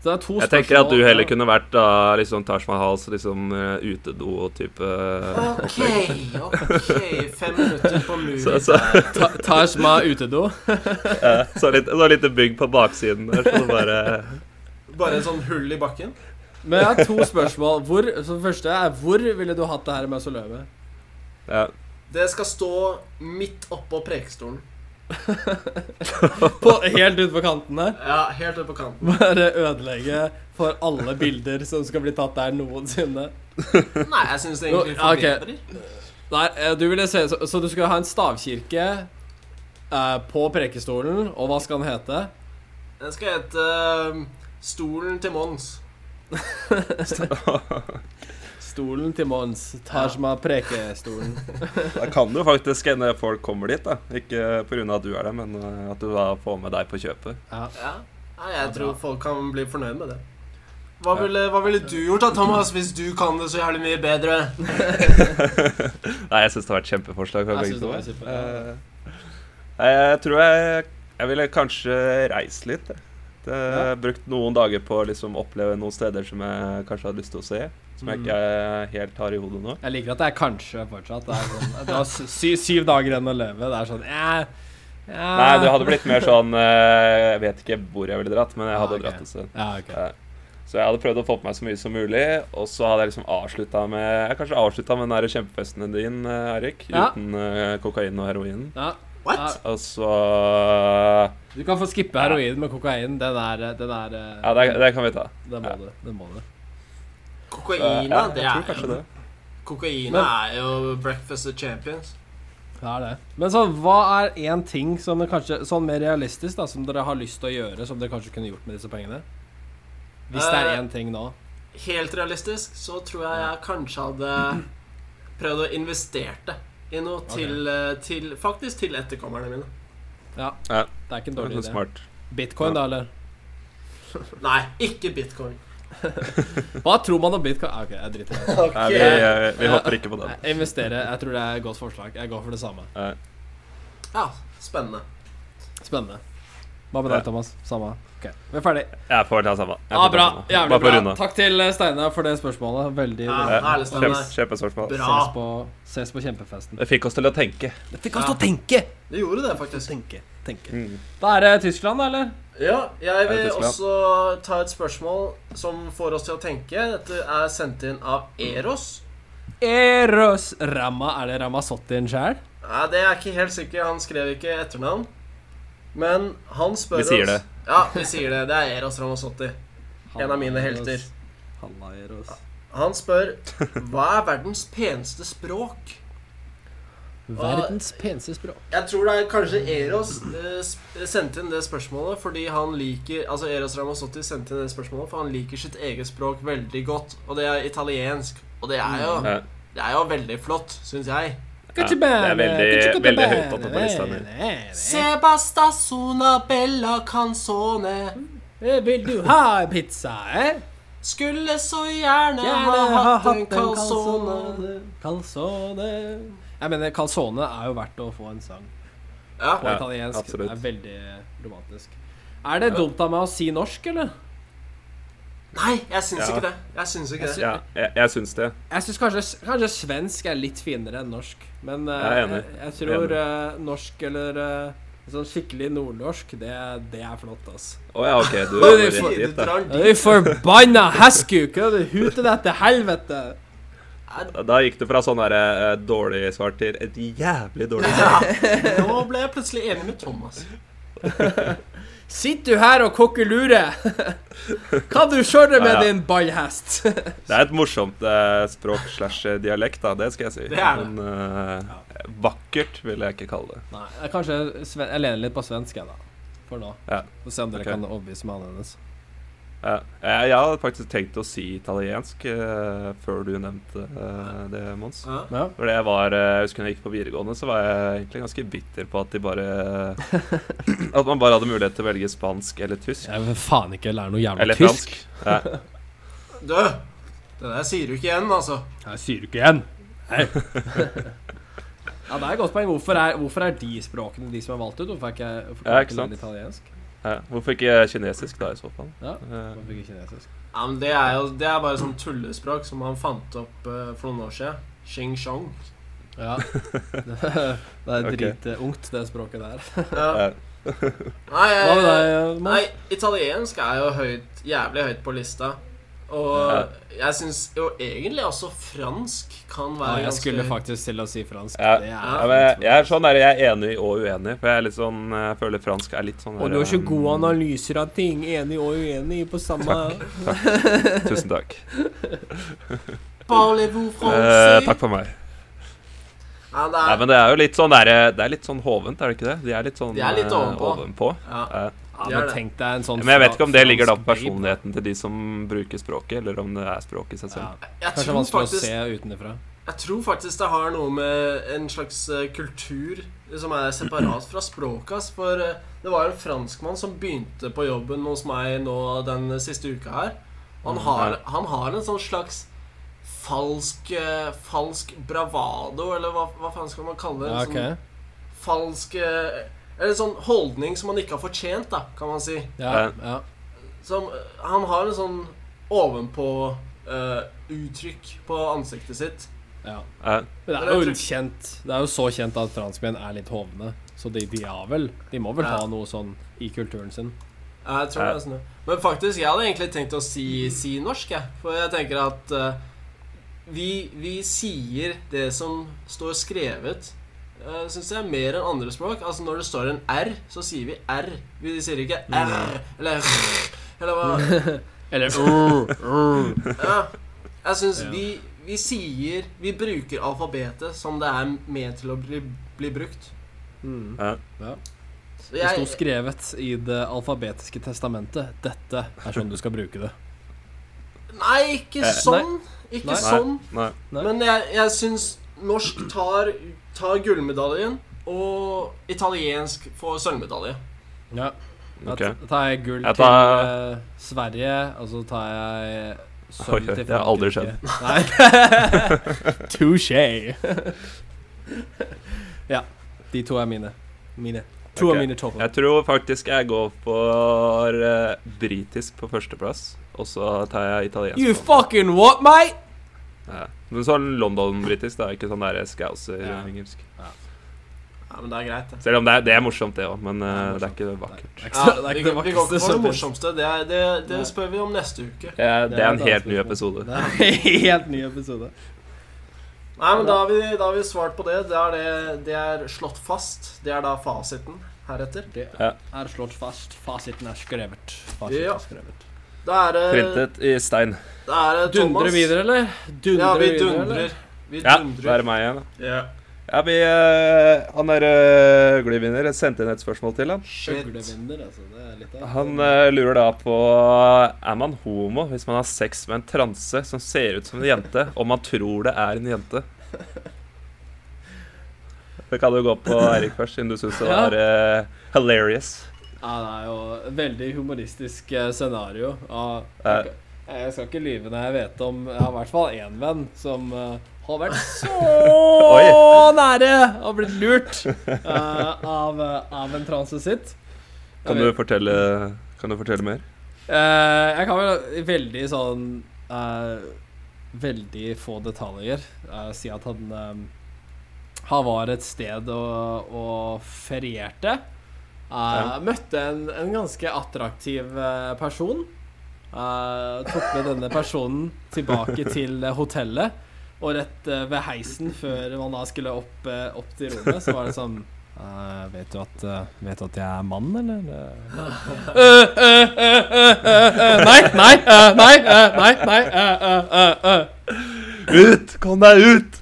Speaker 3: Så det er to
Speaker 2: Jeg tenker at du heller
Speaker 3: Ja.
Speaker 2: kunne vært da liksom Taj Mahals liksom eh, utedo-type eh,
Speaker 1: Ok, ok. Fem minutter på muren.
Speaker 2: Så- så-
Speaker 3: Ta- Taj Ma utedo.
Speaker 2: eh, Så litt, så litt bygg på baksiden der, så det bare
Speaker 1: Bare en sånn hull i bakken.
Speaker 3: Men jeg har to spørsmål. Hvor, så det første er, hvor ville du hatt det her mausoleumet?
Speaker 2: ja.
Speaker 1: Det skal stå midt oppå prekestolen.
Speaker 3: På, helt ute på kanten her.
Speaker 1: Ja, helt ute på kanten.
Speaker 3: Bare ødelegge for alle bilder som skal bli tatt der noensinne.
Speaker 1: Nei, jeg syns det egentlig
Speaker 3: Nå, ja, ok.
Speaker 1: forbedrer.
Speaker 3: Nei, eh, du ville se, så, så du skal ha en stavkirke eh, på prekestolen, og hva skal den hete?
Speaker 1: Den skal hete eh, Stolen til Mons.
Speaker 3: Stolen til Mons. Tajma prekestolen.
Speaker 2: Da kan du faktisk hende folk kommer dit, da. Ikke pga. at du er der, men eh, at du da får med deg på kjøpet.
Speaker 3: Ja.
Speaker 1: Ja, Nei, jeg
Speaker 3: Ja, bra.
Speaker 1: tror folk kan bli fornøyd med det. Hva
Speaker 2: Ja.
Speaker 1: ville, hva ville du gjort da, Thomas, hvis du kan det så jævlig mye bedre?
Speaker 2: Nei, jeg syns det var et kjempeforslag. fra
Speaker 3: Jeg
Speaker 2: begge
Speaker 3: synes det var
Speaker 2: to.
Speaker 3: super, ja.
Speaker 2: Eh, Nei, jeg tror jeg, jeg ville kanskje reist litt. jeg. Det, Brukt noen dager på å liksom oppleve noen steder som jeg kanskje har lyst til å se. Som jeg
Speaker 3: Mm.
Speaker 2: ikke eh, helt har i hodet nå.
Speaker 3: Jeg liker at det er kanskje fortsatt. Det er sånn, du har sy, syv dager igjen å leve. Det er sånn eh, eh.
Speaker 2: Nei, det hadde blitt mer sånn eh, Jeg vet ikke hvor jeg ville dratt, men jeg
Speaker 3: Ah,
Speaker 2: hadde
Speaker 3: ok.
Speaker 2: dratt et sted.
Speaker 3: Ja, ok.
Speaker 2: Ja. Så jeg hadde prøvd å få på meg så mye som mulig, og så hadde jeg liksom avslutta med Jeg har kanskje avslutta med den der kjempefesten din, eh, Eirik,
Speaker 3: Ja.
Speaker 2: uten eh, kokain og heroin.
Speaker 3: Ja,
Speaker 1: What?
Speaker 2: Og så
Speaker 3: du kan få skippe heroin med kokain. Den er, den er eh,
Speaker 2: Ja, det, det kan vi ta.
Speaker 3: den må
Speaker 2: ja.
Speaker 3: du. Den må du.
Speaker 2: Så, ja,
Speaker 1: Kokaina, det
Speaker 2: jeg tror
Speaker 1: er
Speaker 2: kanskje
Speaker 1: jo
Speaker 2: det.
Speaker 1: Kokaina
Speaker 3: Men-
Speaker 1: er jo breakfast of champions.
Speaker 3: Det er det. Men sånn, hva er én ting som er kanskje sånn mer realistisk, da, som dere har lyst til å gjøre, som dere kanskje kunne gjort med disse pengene? Hvis det er
Speaker 1: Eh,
Speaker 3: én ting nå.
Speaker 1: Helt realistisk så tror jeg jeg kanskje hadde prøvd å investere det i noe
Speaker 3: Ok.
Speaker 1: til, eh, til Faktisk til etterkommerne mine.
Speaker 3: Ja.
Speaker 2: Ja.
Speaker 3: Det er ikke en
Speaker 2: Det er
Speaker 3: dårlig
Speaker 2: sånn
Speaker 3: idé.
Speaker 2: smart.
Speaker 3: Bitcoin, da, eller?
Speaker 1: Nei, ikke bitcoin.
Speaker 3: Hva tror man om bitcoin? Ah, ok, jeg driter i det.
Speaker 1: Ok.
Speaker 2: Nei, vi, eh, vi
Speaker 3: Ja.
Speaker 2: hopper ikke på den.
Speaker 3: Jeg investerer. Jeg tror det er et godt forslag. Jeg går for det samme.
Speaker 2: Eh,
Speaker 1: Ja, spennende.
Speaker 3: Spennende. Hva med
Speaker 2: Ja.
Speaker 3: deg, Thomas? Samme. Ok, Vi er ferdig.
Speaker 2: Jeg får ta samme. Jeg
Speaker 3: Ja,
Speaker 2: får ta
Speaker 3: Ah, bra.
Speaker 2: samme. Bare
Speaker 3: Jævlig
Speaker 2: for å
Speaker 3: bra.
Speaker 2: runde av. Eh,
Speaker 3: Takk til eh, Steinar for det spørsmålet. Veldig
Speaker 1: Ja,
Speaker 3: bra.
Speaker 2: Ja,
Speaker 1: herlig, Steinar.
Speaker 2: kjempe- Kjempespørsmål.
Speaker 1: Bra.
Speaker 3: Ses på, ses på kjempefesten.
Speaker 2: Det fikk Eh, oss til å tenke.
Speaker 3: Det fikk
Speaker 1: oss til å
Speaker 3: tenke!
Speaker 1: Det gjorde det, faktisk.
Speaker 3: Tenke, tenke.
Speaker 2: Mm.
Speaker 3: Da er det Tyskland, da, eller?
Speaker 1: Ja, jeg
Speaker 2: Er det
Speaker 1: vil
Speaker 2: Tyskland?
Speaker 1: også ta et spørsmål som får oss til å tenke. Dette er sendt inn av Eros.
Speaker 3: Eros Rama. Er det Ramazottien sjæl?
Speaker 1: Nei, det er jeg ikke helt sikker. Han skrev ikke etternavn. Men han spør
Speaker 2: Vi sier
Speaker 1: oss
Speaker 2: det.
Speaker 1: Ja, vi sier det. Det er Eros Ramazotti. En av mine helter.
Speaker 3: Halla, Eros.
Speaker 1: Han spør Hva er verdens peneste språk?
Speaker 3: Verdens peneste språk.
Speaker 1: Jeg tror det er kanskje Eros eh, sp- sendte inn det spørsmålet fordi han liker Altså Eros Ramazzotti sendte inn det spørsmålet for han liker sitt eget språk veldig godt, og det er italiensk. Og det er jo,
Speaker 2: Mm. Ja.
Speaker 1: det er jo veldig flott, syns jeg.
Speaker 2: Ja, det er veldig, veldig høyt oppe på lista mi.
Speaker 3: mi.
Speaker 1: Sebasta sona bella canzone
Speaker 3: Vil Eh, du ha pizza, eh?
Speaker 1: Skulle så gjerne,
Speaker 3: Gjerne
Speaker 1: ha hatt en calzone.
Speaker 3: Calzone Jeg mener, calzone er jo verdt å få en sang
Speaker 1: Ja.
Speaker 3: på
Speaker 2: Ja,
Speaker 3: italiensk.
Speaker 2: absolutt.
Speaker 3: Det er veldig romantisk. Er det dumt av meg å si norsk, eller?
Speaker 1: Nei, jeg syns
Speaker 2: Ja.
Speaker 1: ikke det. Jeg syns ikke
Speaker 3: Jeg
Speaker 1: det.
Speaker 2: Ja, jeg, jeg syns det.
Speaker 3: Jeg syns kanskje, kanskje svensk er litt finere enn norsk. Men eh,
Speaker 2: Jeg er enig.
Speaker 3: jeg, jeg tror eh, norsk eller eh, sånn skikkelig nordnorsk, det, det er flott, ass.
Speaker 2: Å ja, OK. Du
Speaker 3: Oi,
Speaker 2: går
Speaker 3: vi
Speaker 2: rett
Speaker 3: får-
Speaker 2: dit,
Speaker 1: Du
Speaker 2: da.
Speaker 1: drar
Speaker 3: Er Du
Speaker 1: dit.
Speaker 3: forbanna hestkuk! Hva er det du huter deg til helvete?
Speaker 2: Da gikk det fra sånn der, eh, dårlig svar til et jævlig dårlig svar.
Speaker 1: Ja. Nå ble jeg plutselig enig med Thomas.
Speaker 3: Sitter du her og kokkelure? Kan du kjøre med
Speaker 2: Ja, ja.
Speaker 3: din ballhest?
Speaker 2: Det er et morsomt eh, språk slash dialekt, da. Det skal jeg si.
Speaker 1: Det er det.
Speaker 2: Men eh, vakkert vil jeg ikke kalle det.
Speaker 3: Nei, jeg, kanskje sve- jeg lener litt på svensk, jeg, da. For nå.
Speaker 2: Ja,
Speaker 3: Få se om dere
Speaker 2: ok.
Speaker 3: kan overbevise meg annerledes.
Speaker 2: Ja, Eh, jeg, jeg hadde faktisk tenkt å si italiensk eh, før du nevnte eh, det, Mons.
Speaker 1: Ja.
Speaker 3: Ja.
Speaker 2: For det var, eh, jeg husker når jeg gikk på videregående, så var jeg egentlig ganske bitter på at de bare At man bare hadde mulighet til å velge spansk eller tysk.
Speaker 3: Jeg vil faen ikke lære noe jævla
Speaker 2: Eller
Speaker 3: tysk.
Speaker 2: fransk. Ja.
Speaker 1: Du, det der sier du ikke igjen, altså.
Speaker 3: Jeg sier du ikke igjen. Nei. ja, det er et godt poeng. Hvorfor er, hvorfor er de språkene de som er valgt ut? Hvorfor er ikke, hvorfor kan
Speaker 2: Ja,
Speaker 3: vi
Speaker 2: ikke
Speaker 3: ikke lære
Speaker 2: sant?
Speaker 3: italiensk?
Speaker 2: Ja. Hvorfor ikke kinesisk, da, i så fall?
Speaker 3: Ja.
Speaker 2: Eh,
Speaker 3: Hvorfor ikke kinesisk?
Speaker 1: Ja, men Det er jo det er bare sånn tullespråk som han fant opp eh, for noen år siden. Xing-shong.
Speaker 3: Ja. Det er
Speaker 2: Ok.
Speaker 3: dritungt, det språket der.
Speaker 1: Ja.
Speaker 2: ja.
Speaker 1: Nei,
Speaker 3: Hva med
Speaker 1: jeg,
Speaker 3: deg, eh,
Speaker 1: nei,
Speaker 3: Mons?
Speaker 1: italiensk er jo høyt, jævlig høyt på lista. Og jeg syns jo egentlig også fransk kan
Speaker 3: Ja,
Speaker 1: være
Speaker 3: jeg skulle
Speaker 1: ganske
Speaker 3: faktisk til å si fransk.
Speaker 2: Ja.
Speaker 3: Det er
Speaker 2: Ja, men jeg, jeg er sånn der, jeg er enig og uenig, for jeg er litt sånn, jeg føler fransk er litt sånn
Speaker 3: Og
Speaker 2: der,
Speaker 3: du har så
Speaker 2: um,
Speaker 3: gode analyser av ting. Enig og uenig på samme
Speaker 2: Tusen takk.
Speaker 1: Parlez-vous
Speaker 2: Eh,
Speaker 1: français?
Speaker 2: takk for meg.
Speaker 1: Ja, det
Speaker 2: Nei,
Speaker 1: er,
Speaker 2: men det er jo litt sånn der, eh, Det er litt sånn hovent, er det ikke det? De er litt sånn
Speaker 1: De er litt
Speaker 2: eh,
Speaker 1: ovenpå.
Speaker 2: ovenpå.
Speaker 1: ja.
Speaker 2: Eh,
Speaker 3: Ja,
Speaker 1: Det er
Speaker 3: men
Speaker 1: det.
Speaker 3: tenk deg en sånn
Speaker 2: men jeg vet ikke om det ligger da på
Speaker 3: fransk babe.
Speaker 2: personligheten til de som bruker språket, eller om det er språket i seg
Speaker 3: Ja.
Speaker 1: Jeg
Speaker 2: selv.
Speaker 3: Kanskje det er
Speaker 1: tror
Speaker 3: vanskelig
Speaker 1: faktisk
Speaker 3: å se utenfra.
Speaker 1: Jeg tror faktisk det har noe med en slags eh, kultur som er separat fra språket. ass. For eh, det var en franskmann som begynte på jobben hos meg nå den siste uka her. Og
Speaker 3: Mm,
Speaker 1: Han har, han har en sånn slags falsk eh, Falsk bravado, eller hva, hva faen skal man kalle det?
Speaker 3: Ja,
Speaker 1: En sånn
Speaker 3: ok.
Speaker 1: falsk eh, Eller sånn holdning som han ikke har fortjent, da, kan man si.
Speaker 3: Ja,
Speaker 2: Eh.
Speaker 3: ja.
Speaker 1: Som, eh, han har en sånn ovenpå-uttrykk på ansiktet sitt.
Speaker 3: ja.
Speaker 2: Eh,
Speaker 3: Men det er jo kjent Det er jo så kjent at franskmenn er litt hovne. Så de, de har vel De må vel
Speaker 1: Ja.
Speaker 3: ha noe sånn i kulturen sin.
Speaker 1: Ja, jeg tror det er sånn. ja. Men faktisk, jeg hadde egentlig tenkt å si, si norsk, jeg. For jeg tenker at eh, vi, vi sier det som står skrevet, uh, syns jeg, mer enn andre språk. Altså, når det står en R, så sier vi R. Vi sier ikke R eller R eller hva
Speaker 3: Eller uh, uh.
Speaker 1: ja. Jeg syns
Speaker 3: Ja.
Speaker 1: vi, vi sier Vi bruker alfabetet som det er ment til å bli, bli brukt.
Speaker 3: Mm.
Speaker 2: eh,
Speaker 1: Så
Speaker 3: Det sto
Speaker 1: Jeg,
Speaker 3: skrevet i det alfabetiske testamentet. Dette er sånn du skal bruke det.
Speaker 1: nei, ikke
Speaker 2: Eh,
Speaker 1: sånn. Ikke
Speaker 3: Nei.
Speaker 1: sånn.
Speaker 2: nei.
Speaker 3: Nei.
Speaker 1: Men jeg, jeg syns norsk tar, tar gullmedaljen, og italiensk får sølvmedalje.
Speaker 3: Ja. Da
Speaker 2: Ok.
Speaker 3: t- tar jeg gull
Speaker 2: Jeg
Speaker 3: til
Speaker 2: tar-
Speaker 3: eh, Sverige, og så tar jeg
Speaker 2: Oi,
Speaker 3: sølv til
Speaker 2: det har aldri skjedd.
Speaker 3: Frankrike. Nei. Touché. ja. De to er mine. Mine. To
Speaker 2: Ok.
Speaker 3: av mine topper.
Speaker 2: Jeg tror faktisk jeg går for eh, britisk på førsteplass, og så tar jeg italiensk.
Speaker 3: You
Speaker 2: på andre.
Speaker 3: fucking what, mate?
Speaker 2: Ja. Men sånn London-britisk, da. Ikke sånn der
Speaker 3: Ja.
Speaker 2: Scouser-engelsk.
Speaker 1: Ja, men det er greit, det.
Speaker 2: Selv om det er, det er morsomt, det òg, men eh,
Speaker 3: Ja,
Speaker 2: det er ikke
Speaker 3: Nei,
Speaker 2: vakkert.
Speaker 3: det er ikke
Speaker 1: Ja,
Speaker 3: så- det er
Speaker 1: vi,
Speaker 3: ikke det
Speaker 1: vi går ikke
Speaker 3: vakreste
Speaker 1: for
Speaker 3: som
Speaker 1: det
Speaker 3: finnes.
Speaker 1: morsomste. Det, er, det, det
Speaker 3: Nei.
Speaker 1: spør vi om neste uke.
Speaker 2: Det er, det er
Speaker 3: et
Speaker 2: en
Speaker 3: annet
Speaker 2: helt ny
Speaker 3: spørsmål.
Speaker 2: episode.
Speaker 3: Det er en helt ny episode.
Speaker 1: Nei, men Da har vi, da har vi svart på det. Det er, det. det er slått fast. Det er da fasiten heretter.
Speaker 3: Det
Speaker 2: Ja.
Speaker 3: er slått fast. Fasiten er skrevet. Fasiten
Speaker 1: Ja.
Speaker 3: er skrevet.
Speaker 1: Da er det,
Speaker 2: Printet i stein.
Speaker 1: da er det Thomas.
Speaker 3: Dundrer videre, eller? Dundrer
Speaker 1: Ja, vi
Speaker 3: videre, eller?
Speaker 1: dundrer. Vi
Speaker 2: Ja, da er
Speaker 1: dundrer.
Speaker 2: det meg igjen. da.
Speaker 1: Ja.
Speaker 2: Ja, vi, eh, Han der eh, øglevinner sendte inn et spørsmål til han.
Speaker 1: Shit.
Speaker 3: Øglevinner, altså. Det er litt av
Speaker 2: Han eh, lurer da på Er man homo hvis man har sex med en transe som ser ut som en jente, og man tror det er en jente? Det kan jo gå på Eirik først, siden du syns det
Speaker 3: Ja.
Speaker 2: var eh, hilarious.
Speaker 3: Ja, det er jo et veldig humoristisk eh, scenario. Ja,
Speaker 2: Ja.
Speaker 3: jeg, jeg skal ikke lyve når jeg vet om Jeg har i hvert fall én venn som eh, har vært så nære å bli lurt eh, av, eh, av en transe sitt. Jeg
Speaker 2: Kan
Speaker 3: vet-
Speaker 2: du fortelle, kan du fortelle mer?
Speaker 3: Eh, jeg kan vel veldig sånn eh, Veldig få detaljer eh, si at han eh, Han var et sted og, og ferierte. Eh,
Speaker 2: Ja.
Speaker 3: Møtte en, en ganske attraktiv eh, person. Eh, tok med denne personen tilbake til eh, hotellet. Og rett eh, ved heisen før man da skulle opp, eh, opp til rommet, så var det sånn eh, vet, du at, eh, vet du at jeg er mann, eller? Eh, eh, eh, eh, eh, eh, Nei, nei, eh, nei, eh, nei, nei eh, eh, eh, eh.
Speaker 2: Ut! Kom deg ut!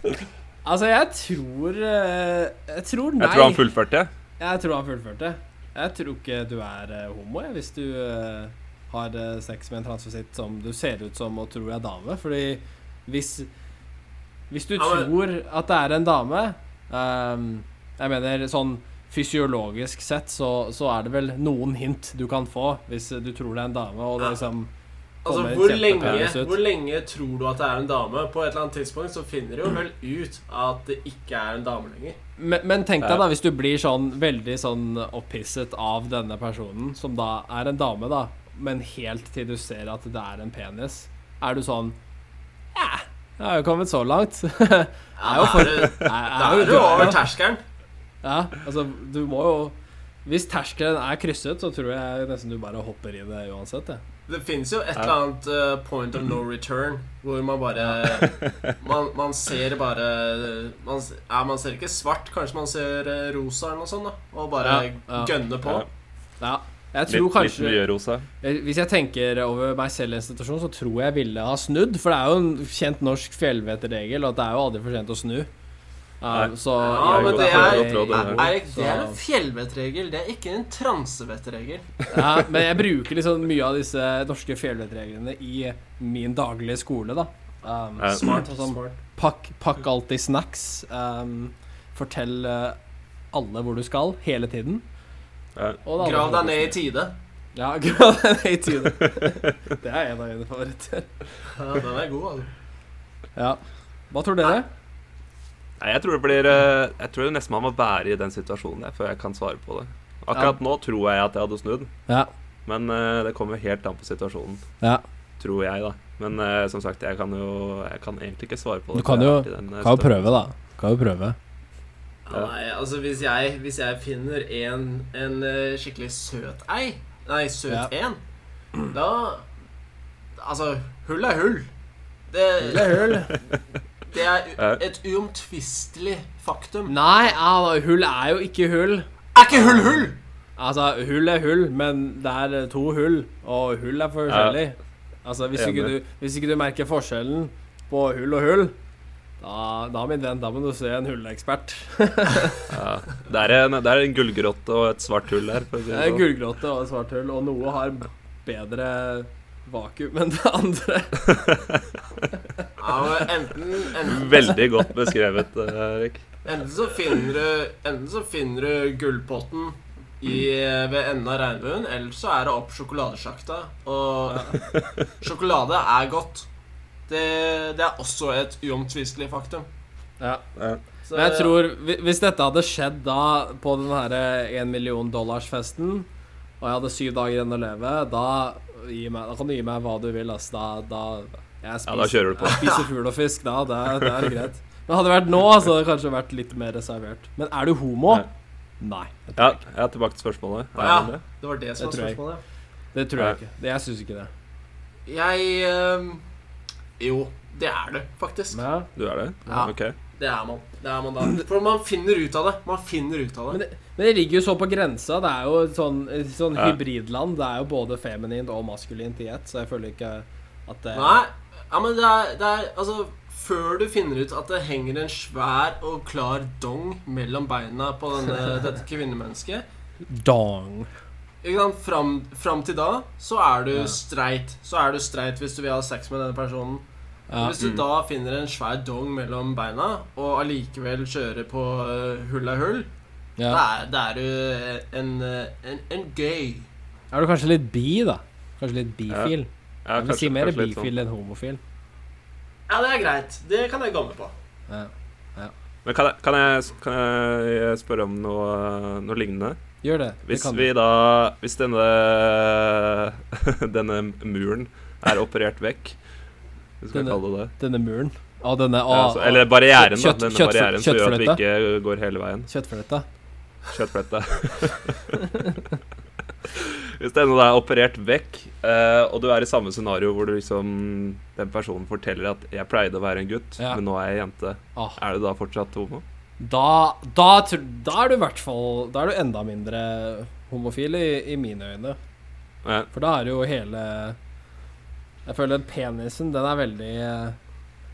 Speaker 3: Altså, jeg tror eh, Jeg tror nei.
Speaker 2: Jeg tror han fullførte.
Speaker 3: Jeg tror han fullførte. Jeg tror ikke du er eh, homo, jeg, hvis du eh, har eh, sex med en transvestitt som du ser ut som og tror er dame. Fordi hvis Hvis du
Speaker 1: Ja, men-
Speaker 3: tror at det er en dame ehm, Jeg mener sånn fysiologisk sett så, så er det vel noen hint du kan få hvis du tror det er en dame, og det
Speaker 1: Ja.
Speaker 3: liksom
Speaker 1: Altså,
Speaker 3: kommer en
Speaker 1: hvor
Speaker 3: kjempepenis
Speaker 1: lenge,
Speaker 3: ut.
Speaker 1: hvor lenge tror du at det er en dame? På et eller annet tidspunkt så finner du jo vel ut at det ikke er en dame lenger.
Speaker 3: Men, men tenk deg
Speaker 2: Ja.
Speaker 3: da hvis du blir sånn veldig sånn opphisset av denne personen, som da er en dame, da, men helt til du ser at det er en penis, er du sånn Ja, jeg har jo kommet så langt. Jeg
Speaker 1: Ja, da er det- da
Speaker 3: er
Speaker 1: er
Speaker 3: jo
Speaker 1: du over
Speaker 3: død.
Speaker 1: terskelen.
Speaker 3: Ja, altså, du må jo Hvis terskelen er krysset, så tror jeg nesten du bare hopper i det uansett, jeg.
Speaker 1: Det finnes jo et
Speaker 2: Ja.
Speaker 1: eller annet eh, point of no return hvor man bare Man, man ser bare man, s- ja, man ser ikke svart, kanskje man ser eh, rosa eller noe sånt, da. Og bare
Speaker 3: Ja, ja.
Speaker 1: gønner på.
Speaker 2: Ja.
Speaker 3: Ja. Jeg tror
Speaker 2: Litt, litt
Speaker 3: kanskje
Speaker 2: mye rosa.
Speaker 3: Eh, Hvis jeg tenker over meg selv i en situasjon, så tror jeg ville ha snudd. For det er jo en kjent norsk fjellvettregel at det er jo aldri for sent å snu.
Speaker 2: Nei.
Speaker 3: Um, så
Speaker 1: Ja,
Speaker 2: men det er-
Speaker 1: Er,
Speaker 2: Ja.
Speaker 1: Erik, det er en fjellvettregel, det er ikke en transevettregel.
Speaker 3: ja, Men jeg bruker liksom mye av disse norske fjellvettreglene i min daglige skole, da. Um,
Speaker 2: Ja.
Speaker 1: Smart.
Speaker 3: Sånn,
Speaker 1: smart.
Speaker 3: pakk, pakk alltid snacks. Um, fortell eh, alle hvor du skal, hele tiden.
Speaker 2: Ja.
Speaker 3: Og det er aldri
Speaker 1: Grav
Speaker 3: for
Speaker 1: deg ned i
Speaker 3: sent å snu.
Speaker 1: tide.
Speaker 3: Ja, grav deg ned i tide. det er en av mine favoritter.
Speaker 1: Ja, den er god, altså.
Speaker 3: Ja. Hva tror dere?
Speaker 2: Nei, jeg tror det blir eh, Jeg tror det nesten man må være i den situasjonen der før jeg kan svare på det. Akkurat nå tror jeg at jeg hadde snudd,
Speaker 3: Ja.
Speaker 2: men eh, det kommer helt an på situasjonen.
Speaker 3: ja.
Speaker 2: Tror jeg, da. Men eh, som sagt, jeg kan jo Jeg kan egentlig ikke svare på det.
Speaker 3: Du kan
Speaker 2: for jeg har
Speaker 3: jo-
Speaker 2: vært i den, eh,
Speaker 3: Kan jo
Speaker 2: stø-
Speaker 3: prøve, da. Kan jo prøve.
Speaker 1: Ja, nei, altså hvis jeg, hvis jeg finner en, en eh, skikkelig søt ei Nei, søt
Speaker 3: Ja.
Speaker 1: en Da Altså, hull er hull. Det, det
Speaker 2: Ja.
Speaker 1: er et uomtvistelig faktum.
Speaker 3: Nei, ja, da, hull er jo ikke hull.
Speaker 1: Er ikke hull hull?!
Speaker 3: Altså, hull er hull, men det er eh, to hull, og hull er forskjellig. Altså, hvis ikke,
Speaker 2: Enig.
Speaker 3: du, hvis ikke du merker forskjellen på hull og hull, da, da min venn, da må du se en hullekspert.
Speaker 2: Ja. Det er en, det er en gullgrotte og et svart hull der. For å si
Speaker 3: Det
Speaker 2: det
Speaker 3: er
Speaker 2: sånn.
Speaker 3: Gullgråte og svart hull, og noe har bedre vakuum enn det andre.
Speaker 1: Ja, men enten, enten,
Speaker 2: Veldig godt beskrevet, eh, Erik.
Speaker 1: enten så finner du Enten så finner du gullpotten i, ved enden av regnbuen, eller så er det opp sjokoladesjakta. Og sjokolade er godt. Det, det er også et uomtvistelig faktum.
Speaker 3: Ja.
Speaker 1: Så-
Speaker 3: Men jeg tror, hvi- hvis dette hadde skjedd da på den her 1 million dollars-festen, og jeg hadde syv dager igjen å leve, da, gi meg, da kan du gi meg hva du vil, ass. Da, da jeg
Speaker 2: Ja, da kjører du på.
Speaker 3: jeg spiser fugl og fisk, da. Det, det er greit. Men hadde det vært nå, så hadde det kanskje vært litt mer reservert. Men er du homo? Nei.
Speaker 2: Ja, jeg er tilbake til spørsmålet. Er
Speaker 1: Ja.
Speaker 2: det det?
Speaker 1: Det var det som var
Speaker 3: Det tror jeg.
Speaker 1: spørsmålet.
Speaker 3: Det tror jeg ikke. Det, jeg syns ikke det.
Speaker 1: Jeg ehm, Jo, det er det, faktisk.
Speaker 3: Men,
Speaker 2: Du er det?
Speaker 1: Ja.
Speaker 2: Ok.
Speaker 1: Det er man. Det er man da. For man finner ut av det. Man finner ut av
Speaker 3: Men
Speaker 1: det.
Speaker 3: men det ligger jo så på grensa. Det er jo et sånn, et sånn
Speaker 2: Ja.
Speaker 3: hybridland. Det er jo både feminint og maskulint i ett, så jeg føler ikke at det
Speaker 1: Nei, ja, men det er, det er Altså, før du finner ut at det henger en svær og klar dong mellom beina på denne, dette kvinnemennesket
Speaker 3: Dong.
Speaker 1: ikke sant? Fram, fram til da så er du
Speaker 3: Ja.
Speaker 1: streit. Så er du streit hvis du vil ha sex med denne personen.
Speaker 3: Ja. Mm.
Speaker 1: Hvis du da finner en svær dong mellom beina, og allikevel kjører på eh, hull er hull,
Speaker 3: Ja.
Speaker 1: Da er, da er du eh, en, en, en gay.
Speaker 3: Er du kanskje litt bi, da? Kanskje litt bifil?
Speaker 2: Ja,
Speaker 3: Jeg vil si mer
Speaker 2: litt sånn.
Speaker 3: bifil enn homofil.
Speaker 1: Ja, det er greit. Det kan jeg komme på.
Speaker 3: Ja.
Speaker 2: sånn. Men kan jeg, kan jeg, kan jeg spørre om noe, noe lignende?
Speaker 3: Gjør det. det
Speaker 2: Hvis
Speaker 3: kan
Speaker 2: vi
Speaker 3: du.
Speaker 2: da Hvis denne, denne muren er operert vekk Hvis vi skal
Speaker 3: Denne-
Speaker 2: kalle det det.
Speaker 3: Denne muren. Å, denne å,
Speaker 2: Ja, altså, eller barrieren, da.
Speaker 3: Ah, kjøtt-
Speaker 2: Denne
Speaker 3: kjøttfl-
Speaker 2: barrieren som gjør at vi
Speaker 3: kjøttfløte.
Speaker 2: ikke går hele veien.
Speaker 3: kjøttfløyta.
Speaker 2: Kjøttflette. Hvis denne da er operert vekk, eh, og du er i samme scenario hvor du liksom den personen forteller at 'jeg pleide å være en gutt,
Speaker 3: Ja.
Speaker 2: men nå er jeg jente',
Speaker 3: Ah,
Speaker 2: er du da fortsatt homo?
Speaker 3: da, da, tr- da er du i hvert fall Da er du enda mindre homofil i, i mine øyne.
Speaker 2: Ja.
Speaker 3: For da er jo hele Jeg føler penisen, den er veldig eh,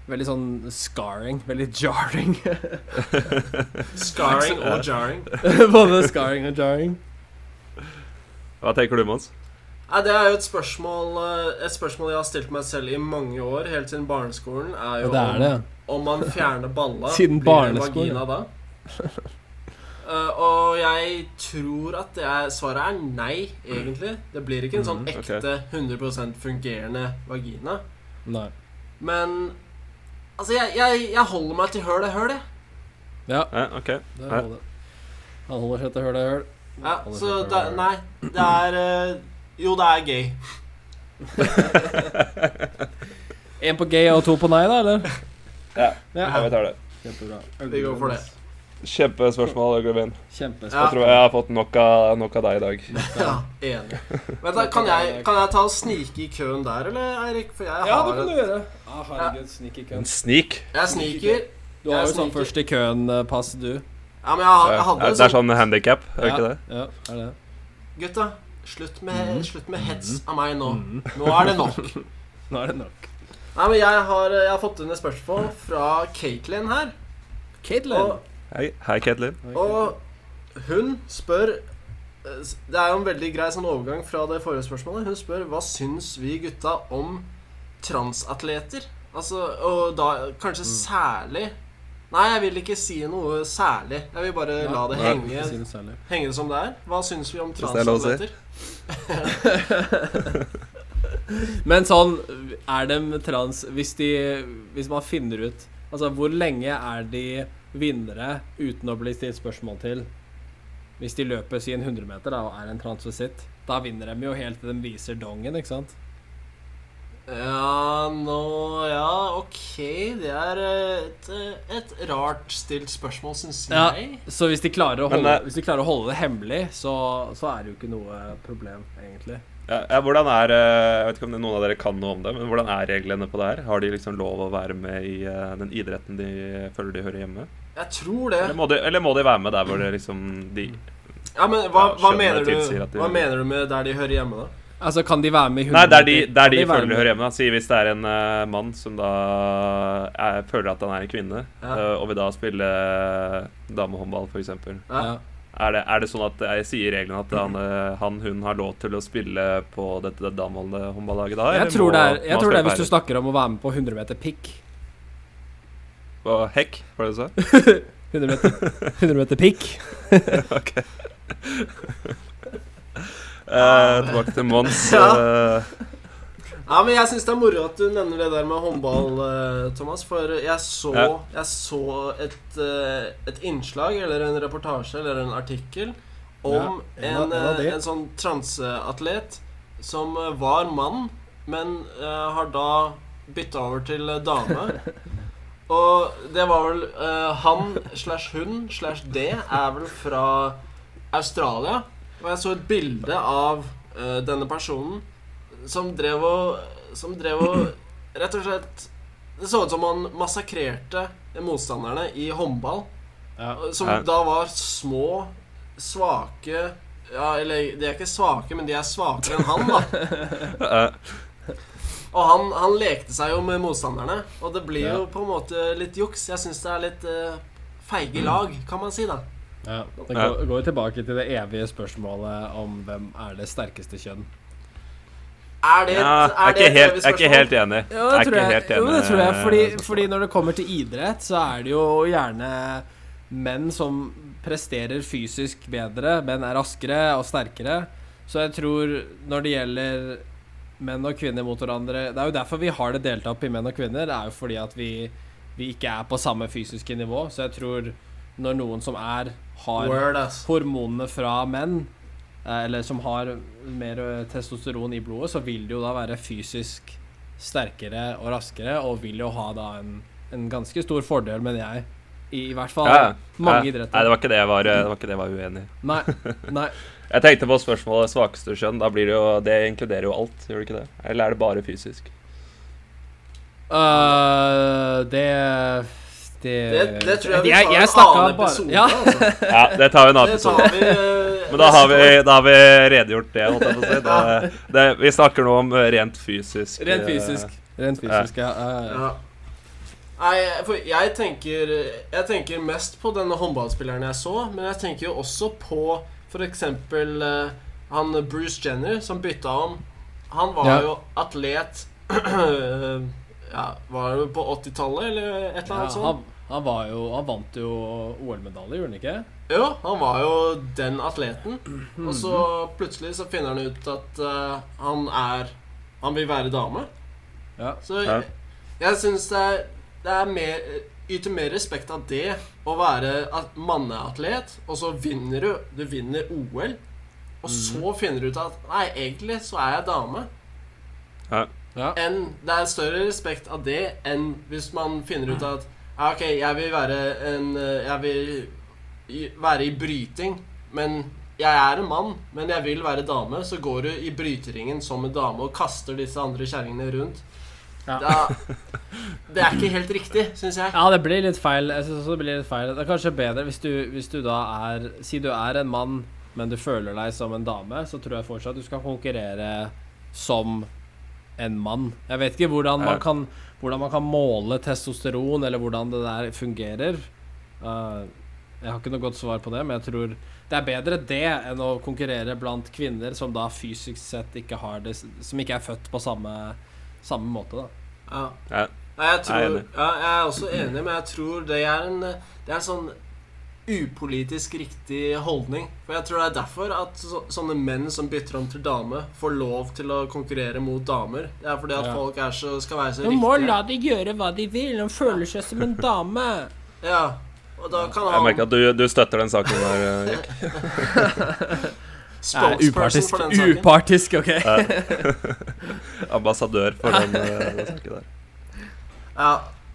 Speaker 3: Veldig sånn scarring. Veldig jarring.
Speaker 1: Scarring og jarring.
Speaker 3: Både scarring og jarring.
Speaker 2: Hva tenker du, Mons?
Speaker 1: Nei, Det er jo et spørsmål eh, Et spørsmål jeg har stilt meg selv i mange år, helt siden barneskolen. Er jo
Speaker 3: Og det er det.
Speaker 1: Om, om man fjerner balla,
Speaker 3: Siden
Speaker 1: blir det
Speaker 3: barneskolen.
Speaker 1: vagina da? Eh, og jeg tror at det er, svaret er nei, egentlig. Det blir ikke en sånn
Speaker 3: Mm,
Speaker 2: Mhm, ok.
Speaker 1: ekte 100 fungerende vagina.
Speaker 3: Nei.
Speaker 1: Men altså, jeg, jeg, jeg holder meg til høl er høl, jeg.
Speaker 3: Ja,
Speaker 2: Ja, OK.
Speaker 3: det er det. Han holder seg til høl er høl.
Speaker 1: Ja,
Speaker 3: Holder
Speaker 1: så
Speaker 3: seg til høl
Speaker 1: da,
Speaker 3: er høl.
Speaker 1: nei, det er eh, Jo, det er gay.
Speaker 3: En på gay og to på nei, da, eller?
Speaker 2: Ja,
Speaker 3: Ja.
Speaker 2: jeg tar det.
Speaker 3: Kjempebra.
Speaker 1: Vi går for det.
Speaker 2: Kjempespørsmål, Øglebyen.
Speaker 1: Ja.
Speaker 3: Kjempespennende.
Speaker 2: Jeg tror jeg har fått nok av, nok av deg i dag.
Speaker 1: Ja, enig. Vent da, kan jeg, kan jeg ta og snike i køen der, eller, Eirik? For jeg
Speaker 4: Ja, det
Speaker 1: har
Speaker 4: kan du
Speaker 1: et
Speaker 4: gjøre. Ah, herregud, sneak ikke.
Speaker 2: En snik.
Speaker 1: Jeg sniker.
Speaker 3: Du har jo
Speaker 1: Jeg
Speaker 3: sånn
Speaker 1: sniker.
Speaker 3: først i køen-pass, du.
Speaker 1: Ja, men jeg, har, jeg
Speaker 2: Det
Speaker 1: hadde
Speaker 2: er- sånn-
Speaker 1: en
Speaker 2: det er
Speaker 1: sånn
Speaker 2: sånn handikap, er det ikke det?
Speaker 3: Ja, er det.
Speaker 1: Gutta, slutt
Speaker 2: Mhm.
Speaker 1: med, slutt med hets av meg nå.
Speaker 4: Mhm.
Speaker 1: Nå er det nok.
Speaker 3: Nå er det nok.
Speaker 1: Nei, men jeg har, jeg har fått inn et spørsmål fra Katelyn her.
Speaker 3: Caitlin.
Speaker 1: Og,
Speaker 2: Hei, hei Ketlin.
Speaker 1: og hun spør eh, s- Det er jo en veldig grei sånn overgang fra det forrige spørsmålet. Hun spør hva syns vi gutta om transatleter? Altså, og da kanskje særlig Nei, jeg vil ikke si noe særlig. Jeg vil bare eh, la det
Speaker 2: Nei.
Speaker 1: henge,
Speaker 3: Si noe særlig.
Speaker 1: henge det som det er. Hva syns vi om
Speaker 2: Hvis det er lov å si.
Speaker 1: transatleter?
Speaker 3: Men sånn, er de trans hvis, de, hvis man finner ut Altså, hvor lenge er de vinnere uten å bli stilt spørsmål til? Hvis de løper sin 100 meter da, og er en transvisitt, da vinner de jo helt til de viser dongen, ikke sant?
Speaker 1: Ja, nå Ja, ok. Det er et, et rart stilt spørsmål, syns
Speaker 3: Ja.
Speaker 1: jeg.
Speaker 3: Så hvis de klarer å
Speaker 2: Men,
Speaker 3: holde,
Speaker 2: eh,
Speaker 3: hvis de klarer å holde det hemmelig, så, så er det jo ikke noe problem, egentlig.
Speaker 2: Ja, ja, hvordan er eh, Jeg vet ikke om det- noen av dere kan noe om det, men hvordan er reglene på det her? Har de liksom lov å være med i eh, den idretten de føler de hører hjemme?
Speaker 1: Jeg tror det.
Speaker 2: Eller må de, eller må de være med der hvor det liksom de
Speaker 3: Mm.
Speaker 1: Ja, men hva,
Speaker 2: Ja,
Speaker 1: hva,
Speaker 2: skjønner
Speaker 1: mener,
Speaker 2: jeg tilsier at
Speaker 1: du,
Speaker 2: de-
Speaker 1: hva mener du med der de hører hjemme, da?
Speaker 3: Altså, kan de være med i 100
Speaker 2: Nei, der de,
Speaker 3: meter?
Speaker 2: der
Speaker 3: Kan
Speaker 2: de
Speaker 3: være
Speaker 2: føler de
Speaker 3: med?
Speaker 2: hører hjemme. da. Si hvis det er en eh, mann som da er, føler at han er en kvinne,
Speaker 1: Ja.
Speaker 2: eh, og vil da spille eh, damehåndball, f.eks.
Speaker 1: Ja.
Speaker 3: Ja.
Speaker 2: Er det, er det sånn at jeg sier reglene at han, eh, han hun har lov til å spille på dette damehåndballaget da?
Speaker 3: Jeg
Speaker 2: eller
Speaker 3: tror
Speaker 2: må
Speaker 3: det er, jeg
Speaker 2: man
Speaker 3: tror det er
Speaker 2: spille
Speaker 3: hvis du snakker om å være med på 100 meter pikk.
Speaker 2: på På hekk, var det du sa?
Speaker 3: 100 meter, 100 meter pikk.
Speaker 2: Ok. Eh, tilbake til Mons.
Speaker 1: Ah, Ja.
Speaker 2: Eh,
Speaker 1: Ja, men Jeg syns det er moro at du nevner det der med håndball, eh, Thomas. For jeg så,
Speaker 2: Ja.
Speaker 1: jeg så et, eh, et innslag, eller en reportasje, eller en artikkel om
Speaker 3: Ja, en
Speaker 1: en,
Speaker 3: av- en av
Speaker 1: eh,
Speaker 3: de.
Speaker 1: en sånn transeatlet som eh, var mann, men eh, har da bytta over til eh, dame. Og det var vel eh, Han slash hun slash det er vel fra Australia. Og jeg så et bilde av eh, denne personen som drev og Som drev og Rett og slett Det så ut som han massakrerte motstanderne i håndball.
Speaker 3: Ja.
Speaker 1: Som
Speaker 2: Ja.
Speaker 1: da var små, svake Ja, eller de er ikke svake, men de er svakere enn han, da.
Speaker 2: eh,
Speaker 1: Og han, han lekte seg jo med motstanderne, og det blir
Speaker 3: Ja.
Speaker 1: jo på en måte litt juks. Jeg syns det er litt eh, feige lag, kan man si, da.
Speaker 3: Ja, det
Speaker 2: Ja.
Speaker 3: går, går tilbake til det evige spørsmålet om hvem er det sterkeste kjønn.
Speaker 1: Er det, et-
Speaker 2: ja,
Speaker 1: er
Speaker 2: jeg ah, er
Speaker 1: det
Speaker 2: ikke
Speaker 1: et
Speaker 2: helt,
Speaker 1: evig
Speaker 2: jeg er ikke
Speaker 1: spørsmål?
Speaker 2: helt enig. Jeg er ikke helt enig.
Speaker 3: jo, det tror jeg fordi,
Speaker 2: eh,
Speaker 3: fordi når det kommer til idrett, så er det jo gjerne menn som presterer fysisk bedre, men er raskere og sterkere. Så jeg tror når det gjelder menn og kvinner mot hverandre Det er jo derfor vi har det delt opp i menn og kvinner. Det er jo fordi at vi, vi ikke er på samme fysiske nivå. Så jeg tror når noen som er har
Speaker 1: Word, ass.
Speaker 3: hormonene fra menn, eh, eller som har mer eh, testosteron i blodet, så vil det jo da være fysisk sterkere og raskere, og vil jo ha da en, en ganske stor fordel, mener jeg. I, i hvert fall
Speaker 2: ja, ja.
Speaker 3: mange
Speaker 2: Ja. Nei, det
Speaker 3: idretter.
Speaker 2: var ikke det jeg var, eh, det var, ikke det jeg var uenig i.
Speaker 3: Nei, nei.
Speaker 2: Jeg tenkte på spørsmålet svakeste skjønn. Da blir det jo Det inkluderer jo alt, gjør det ikke det? Eller er det bare fysisk?
Speaker 3: Øh, det det,
Speaker 1: Det, det tror jeg vi
Speaker 3: Eh, Jeg-
Speaker 1: tar
Speaker 3: jeg
Speaker 1: en
Speaker 3: snakket
Speaker 1: annen
Speaker 3: bare-
Speaker 1: episode,
Speaker 3: ja.
Speaker 1: altså.
Speaker 2: Ja, det tar vi en annen
Speaker 1: Det tar
Speaker 2: episode.
Speaker 1: vi eh,
Speaker 2: Men da har
Speaker 1: neste år.
Speaker 2: vi, da har vi redegjort det. Holdt jeg på å si. det, det, vi snakker nå om eh, rent fysisk.
Speaker 3: Rent
Speaker 2: eh,
Speaker 3: fysisk. Rent fysisk, ja. Eh, ja, ja.
Speaker 1: ja. Nei, for jeg tenker Jeg tenker mest på denne håndballspilleren jeg så, men jeg tenker jo også på for eksempel eh, han Bruce Jenner som bytta om Han var
Speaker 5: Ja.
Speaker 1: jo atlet Ja, var det på 80-tallet eller et eller
Speaker 3: Ja,
Speaker 1: annet sånt?
Speaker 3: han, han var jo Han vant jo OL-medalje, gjorde han ikke?
Speaker 1: Jo, han var jo den atleten.
Speaker 3: Mhm.
Speaker 1: Og så plutselig så finner han ut at eh, han er Han vil være dame.
Speaker 3: Ja.
Speaker 1: Så
Speaker 2: Ja.
Speaker 1: jeg, jeg syns det er, det er mer Yter mer respekt av det å være at- manneatlet, og så vinner du. Du vinner OL. Og så finner du ut at Nei, egentlig så er jeg dame.
Speaker 3: Ja.
Speaker 1: Enn, det er større respekt av det enn hvis man finner ut at ja, OK, jeg vil være en eh, Jeg vil i- være i bryting, men jeg er en mann, men jeg vil være dame. Så går du i bryteringen som en dame og kaster disse andre kjerringene rundt.
Speaker 3: Ja.
Speaker 1: Da, det er ikke helt riktig, syns jeg.
Speaker 3: Ja, det blir litt feil. Jeg synes også det blir litt feil. Det er kanskje bedre hvis du, hvis du da er Si du er en mann, men du føler deg som en dame, så tror jeg fortsatt du skal konkurrere som en mann. Jeg vet ikke hvordan
Speaker 2: Ja.
Speaker 3: man kan, hvordan man kan måle testosteron, eller hvordan det der fungerer. Eh, jeg har ikke noe godt svar på det, men jeg tror det er bedre det enn å konkurrere blant kvinner som da fysisk sett ikke har det Som ikke er født på samme, samme måte, da.
Speaker 1: Ja.
Speaker 2: Ja.
Speaker 1: Nei, jeg, tror,
Speaker 2: Jeg
Speaker 1: jeg,
Speaker 2: er enig.
Speaker 1: ja, jeg er også enig, men jeg tror det er en Det er en sånn upolitisk riktig holdning. For jeg tror det er derfor at så, sånne menn som bytter om til dame, får lov til å konkurrere mot damer. Det er fordi at
Speaker 3: Ja.
Speaker 1: folk er så, skal være så
Speaker 3: Du må
Speaker 1: riktige.
Speaker 3: la de gjøre hva de vil. De føler seg som en dame.
Speaker 1: Ja, og da kan
Speaker 2: Jeg merker
Speaker 1: han
Speaker 2: at du, du støtter den saken der, eh, Jack.
Speaker 1: spokesperson for den saken.
Speaker 3: Upartisk, OK?
Speaker 2: Ambassadør for den, eh, den saken der.
Speaker 1: Ja,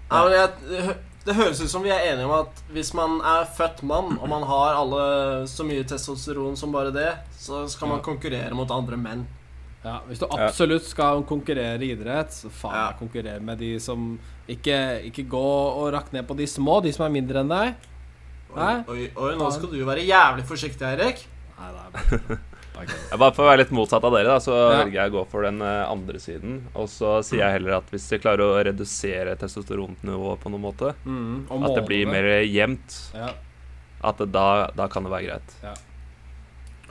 Speaker 1: ja men jeg, Det høres ut som vi er enige om at hvis man er født mann, og man har alle så mye testosteron som bare det, så skal man konkurrere mot andre menn.
Speaker 3: Ja, hvis du absolutt skal konkurrere i idrett, så faen
Speaker 1: Ja.
Speaker 3: konkurrer med de som ikke, ikke gå og rakk ned på de små, de som er mindre enn deg.
Speaker 1: Oi,
Speaker 3: Hæ?
Speaker 1: oi, oi, nå skal du jo være jævlig forsiktig, Eirik.
Speaker 3: Nei, det er bare- bare kødd.
Speaker 2: Ja, Bare for å være litt motsatt av dere, da, så
Speaker 3: Ja.
Speaker 2: velger jeg å gå for den eh, andre siden. Og så sier jeg heller at hvis de klarer å redusere testosteronnivået på noen måte,
Speaker 3: Mm, og
Speaker 2: at det blir
Speaker 3: målene.
Speaker 2: mer jevnt,
Speaker 3: ja.
Speaker 2: at det, da, da kan det være greit.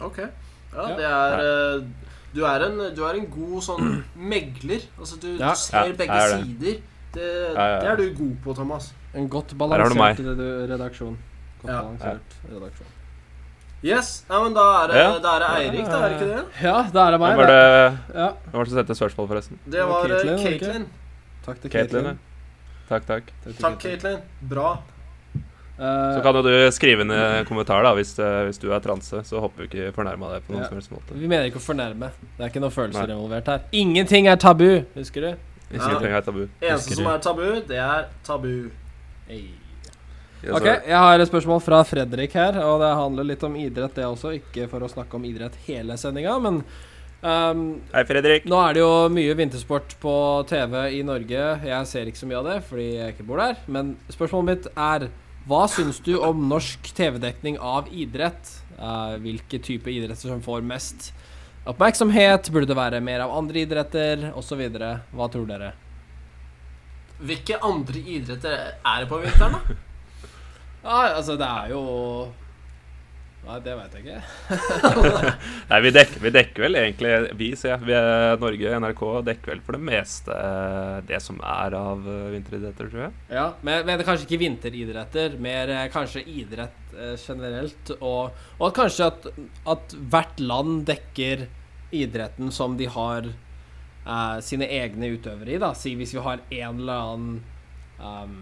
Speaker 1: Ok. Ja,
Speaker 3: Ja.
Speaker 1: det er eh, du er, en, du er en god sånn megler. Altså, du,
Speaker 3: Ja.
Speaker 1: du ser
Speaker 2: Ja,
Speaker 1: begge
Speaker 2: jeg er det.
Speaker 1: sider. Det,
Speaker 2: Ja, ja, ja.
Speaker 1: det er du god på, Thomas.
Speaker 3: En godt
Speaker 2: Her har du meg.
Speaker 3: balansert redu- redaksjon. Godt
Speaker 1: Ja.
Speaker 3: balansert redaksjon.
Speaker 1: Yes. Ja, men da er det,
Speaker 2: Ja.
Speaker 1: da er det Eirik, da, er det ikke det?
Speaker 3: Ja, da er det meg.
Speaker 2: Hvem var det,
Speaker 3: det. Ja,
Speaker 2: hvem var det som sendte spørsmål, forresten?
Speaker 1: Det var
Speaker 3: Caitlyn, var
Speaker 1: eh,
Speaker 3: det ikke?
Speaker 1: Caitlyn.
Speaker 3: takk til
Speaker 2: Caitlin,
Speaker 3: Caitlin.
Speaker 2: ja. Takk, takk.
Speaker 1: Takk, Caitlyn. Bra.
Speaker 3: Eh.
Speaker 2: Så kan jo du skrive inn en kommentar da, hvis, eh, hvis du er transe, så håper vi ikke fornærma deg på noen
Speaker 3: Ja. Mm.
Speaker 2: som helst måte.
Speaker 3: Vi mener ikke å fornærme. Det er ikke noen følelser
Speaker 2: Nei.
Speaker 3: involvert her. Ingenting er tabu, husker du?
Speaker 2: Hvis
Speaker 1: Ja.
Speaker 2: vi trenger et tabu.
Speaker 1: Eneste som er tabu, det er tabu.
Speaker 2: Yes,
Speaker 3: Ok,
Speaker 2: sir.
Speaker 3: jeg har et spørsmål fra Fredrik her, og det handler litt om idrett, det også. Ikke for å snakke om idrett hele sendinga, men ehm,
Speaker 2: Hei, Fredrik.
Speaker 3: nå er det jo mye vintersport på TV i Norge. Jeg ser ikke så mye av det fordi jeg ikke bor der. Men spørsmålet mitt er hva syns du om norsk TV-dekning av idrett? Eh, hvilke type idretter som får mest oppmerksomhet? Burde det være mer av andre idretter, osv.? Hva tror dere?
Speaker 1: Hvilke andre idretter er det på vinteren, da?
Speaker 3: Nei, altså, det er jo Nei, det veit jeg ikke.
Speaker 2: Nei, vi dekker, vi dekker vel egentlig Vi, sier jeg. Vi er Norge, NRK, dekker vel for det meste eh, det som er av eh, vinteridretter, tror jeg.
Speaker 3: Ja, men, men det er kanskje ikke vinteridretter, mer eh, kanskje idrett eh, generelt. Og, og at kanskje at, at hvert land dekker idretten som de har eh, sine egne utøvere i. da Si hvis vi har en eller annen ehm,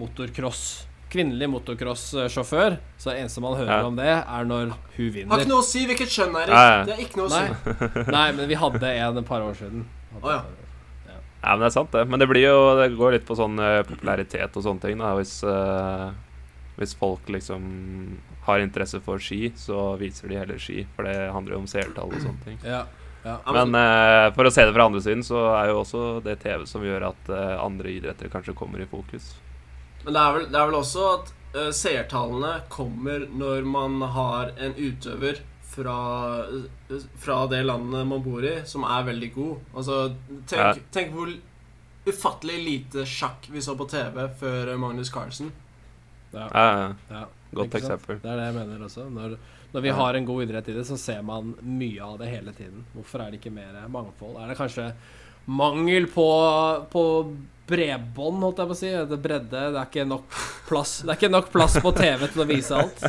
Speaker 3: motorcross kvinnelig motocross-sjåfør, så det eneste man hører
Speaker 2: Ja.
Speaker 3: om det, er når hun
Speaker 1: Har ikke
Speaker 3: vinner.
Speaker 1: noe å si hvilket kjønn, Eirik.
Speaker 2: Nei.
Speaker 1: Det er ikke noe å si.
Speaker 3: Nei, nei, men vi hadde en et par år siden. Hadde
Speaker 1: Å, ja.
Speaker 3: et par
Speaker 2: Ja,
Speaker 3: år.
Speaker 2: men det er sant, det. Men det blir jo Det går litt på sånn eh, popularitet og sånne ting, da. Hvis, eh, hvis folk liksom har interesse for ski, så viser de heller ski, for det handler jo om seertall og sånne ting.
Speaker 3: Ja.
Speaker 1: Ja,
Speaker 2: Men eh, for å se det fra andre siden, så er jo også det TV som gjør at eh, andre idretter kanskje kommer i fokus.
Speaker 1: Men det er vel, det er vel også at eh, seertallene kommer når man har en utøver fra, eh, fra det landet man bor i, som er veldig god. Altså, tenk,
Speaker 2: Ja.
Speaker 1: tenk hvor ufattelig lite sjakk vi så på TV før eh, Magnus Carlsen.
Speaker 3: Ja.
Speaker 2: Ja, ja.
Speaker 3: Ja,
Speaker 2: Godt
Speaker 3: ikke sant?
Speaker 2: eksempel.
Speaker 3: Det er det jeg mener også. Når, Når vi har en god idrett i det, så ser man mye av det hele tiden. Hvorfor er det ikke mer mangfold? Er det kanskje mangel på, på bredbånd, holdt jeg på å si? Det bredde, det er ikke nok plass Det er ikke nok plass på TV til å vise alt.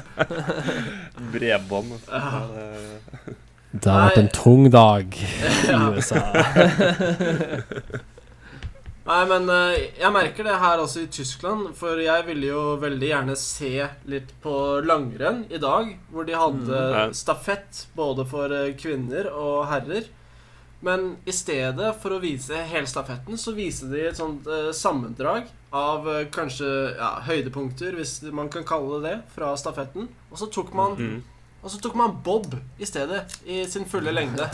Speaker 2: Bredbånd. altså.
Speaker 3: Det har vært en tung dag i USA.
Speaker 1: Nei, men eh, jeg merker det her også i Tyskland, for jeg ville jo veldig gjerne se litt på langrenn i dag, hvor de hadde
Speaker 2: ja.
Speaker 1: stafett både for eh, kvinner og herrer. Men i stedet for å vise hele stafetten, så viser de et sånt eh, sammendrag av eh, kanskje ja, høydepunkter, hvis man kan kalle det det, fra stafetten. Og så tok man,
Speaker 2: Mm.
Speaker 1: og så tok man bob i stedet, i sin fulle lengde.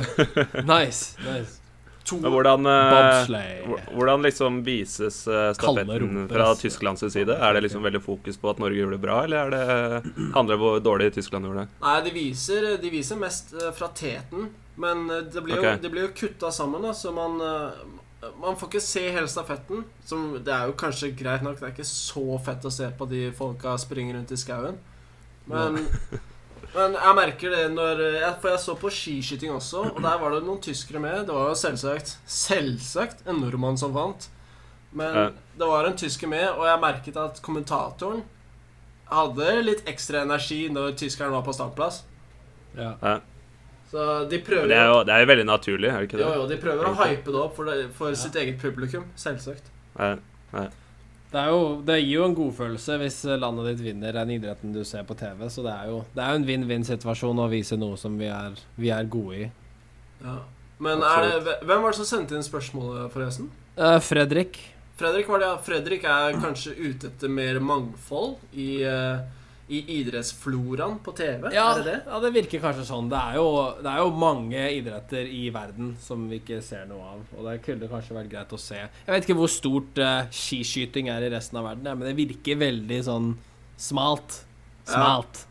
Speaker 3: Nice. nice.
Speaker 1: To
Speaker 2: Men hvordan eh,
Speaker 3: Bobsleigh.
Speaker 2: hvor- Hvordan liksom vises eh,
Speaker 3: Kalde
Speaker 2: stafetten
Speaker 3: rumper,
Speaker 2: fra
Speaker 3: altså.
Speaker 2: Tysklands side? Er det liksom veldig fokus på at Norge gjorde det bra, eller er det, eh, handler det om hvor dårlig Tyskland gjorde det?
Speaker 1: Nei, de viser, de viser mest eh, fra teten. Men eh, det blir,
Speaker 2: Ok.
Speaker 1: jo, det blir jo kutta sammen, da, så man eh, Man får ikke se hele stafetten. Som, det er jo kanskje greit nok, det er ikke så fett å se på de folka springer rundt i skauen. Men, men jeg merker det når eh, jeg- For jeg så på skiskyting også, og der var det noen tyskere med. Det var jo selvsagt selvsagt en nordmann som vant. Men
Speaker 2: Ja.
Speaker 1: det var en tysker med, og jeg merket at kommentatoren hadde litt ekstra energi når tyskeren var på startplass.
Speaker 3: Ja.
Speaker 1: Så de
Speaker 2: Men
Speaker 1: prøver,
Speaker 2: Det er jo, det er jo veldig naturlig, er det ikke
Speaker 1: jo,
Speaker 2: det?
Speaker 1: jo, de prøver å hype det opp for, det, for sitt eget publikum, selvsagt.
Speaker 2: Nei.
Speaker 3: Det, er jo, det gir jo en godfølelse hvis landet ditt vinner den idretten du ser på TV, så det er jo, det er jo en vinn-vinn-situasjon å vise noe som vi er, vi er gode i.
Speaker 1: Men er det, hvem var det som sendte inn spørsmålet, forresten?
Speaker 3: Eh, Fredrik,
Speaker 1: Fredrik, var det, ja. Fredrik er kanskje ute etter mer mangfold i, eh, i idrettsfloraen på TV?
Speaker 3: Ja,
Speaker 1: Er det det?
Speaker 3: ja, det virker kanskje sånn. Det er, jo, det er jo mange idretter i verden som vi ikke ser noe av. Og det kunne kanskje vært greit å se. Jeg vet ikke hvor stort eh, skiskyting er i resten av verden, ja, men det virker veldig sånn smalt. Smalt.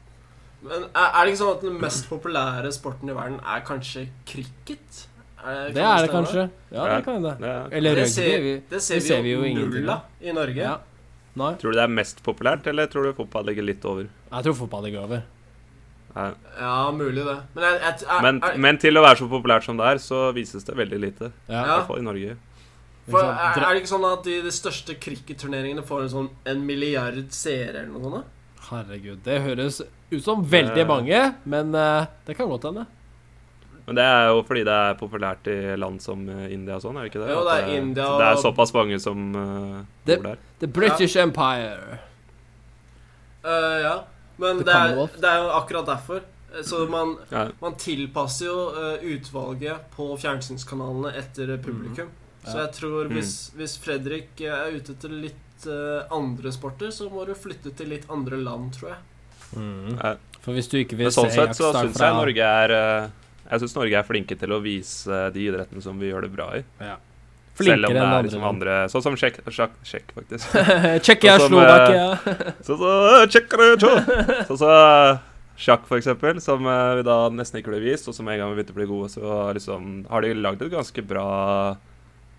Speaker 1: Men er, er det ikke sånn at den mest populære sporten i verden er kanstemme? kanskje cricket?
Speaker 3: Det er det kanskje. Ja, det
Speaker 2: Ja.
Speaker 3: kan det.
Speaker 2: Det er,
Speaker 3: Eller
Speaker 1: Det
Speaker 3: rugby.
Speaker 1: ser,
Speaker 3: Vi,
Speaker 1: det ser vi,
Speaker 3: ser vi jo
Speaker 1: jo
Speaker 3: ingenting
Speaker 1: null av i Norge.
Speaker 3: ja. Nei.
Speaker 2: tror du det er mest populært, eller tror du fotball ligger litt over?
Speaker 3: Jeg tror fotball ligger over.
Speaker 2: Nei.
Speaker 1: Ja, mulig det. Men, jeg, jeg, er,
Speaker 2: Men,
Speaker 1: er,
Speaker 2: men til å være så populært som det er, så vises det veldig lite.
Speaker 3: Ja.
Speaker 2: I
Speaker 1: Ja.
Speaker 2: hvert fall i Norge.
Speaker 1: for,
Speaker 3: Ikke sant?
Speaker 1: er,
Speaker 3: Dra-
Speaker 1: er det ikke sånn at de, de største cricketturneringene får en sånn en milliard seere eller noe sånt? da?
Speaker 3: Herregud, det høres ut som veldig
Speaker 2: Eh.
Speaker 3: mange, men eh, det kan godt hende.
Speaker 2: Men det er jo fordi det er populært i land som eh, India og sånn, er det ikke det?
Speaker 1: Jo,
Speaker 2: At
Speaker 1: det er India
Speaker 2: så Det er
Speaker 1: og-
Speaker 2: såpass mange som eh,
Speaker 3: Det-
Speaker 2: bor der.
Speaker 3: The British Empire.
Speaker 1: Eh, ja. Men
Speaker 3: The
Speaker 1: det er,
Speaker 3: Commonwealth.
Speaker 1: det er jo akkurat derfor. Eh, Så man,
Speaker 2: Ja.
Speaker 1: man tilpasser jo eh, utvalget på fjernsynskanalene etter eh, publikum. Så
Speaker 3: Mm. Ja.
Speaker 1: jeg tror hvis, hvis Fredrik eh, er ute etter litt eh, andre sporter, så må du flytte til litt andre land, tror jeg.
Speaker 2: Ja.
Speaker 3: Mm. For hvis du ikke vil
Speaker 2: Men sånn
Speaker 3: se
Speaker 2: sett så
Speaker 3: jaktstart
Speaker 2: syns
Speaker 3: fra
Speaker 2: jeg Norge er eh, Jeg synes Norge er flinke til å vise eh, de idrettene som vi gjør det bra i. Selv om det er liksom andre Sånn som sjekk, sjekk, sjekk faktisk.
Speaker 3: Tsjekkia,
Speaker 2: Sånn som, eh,
Speaker 3: Slovakia
Speaker 2: Sånn som eh, tjekkere, tjå. Sånn som eh, sjakk, for eksempel, som eh, vi da nesten ikke ble vist, og som en gang vi begynte å bli gode, så liksom har de lagd et ganske bra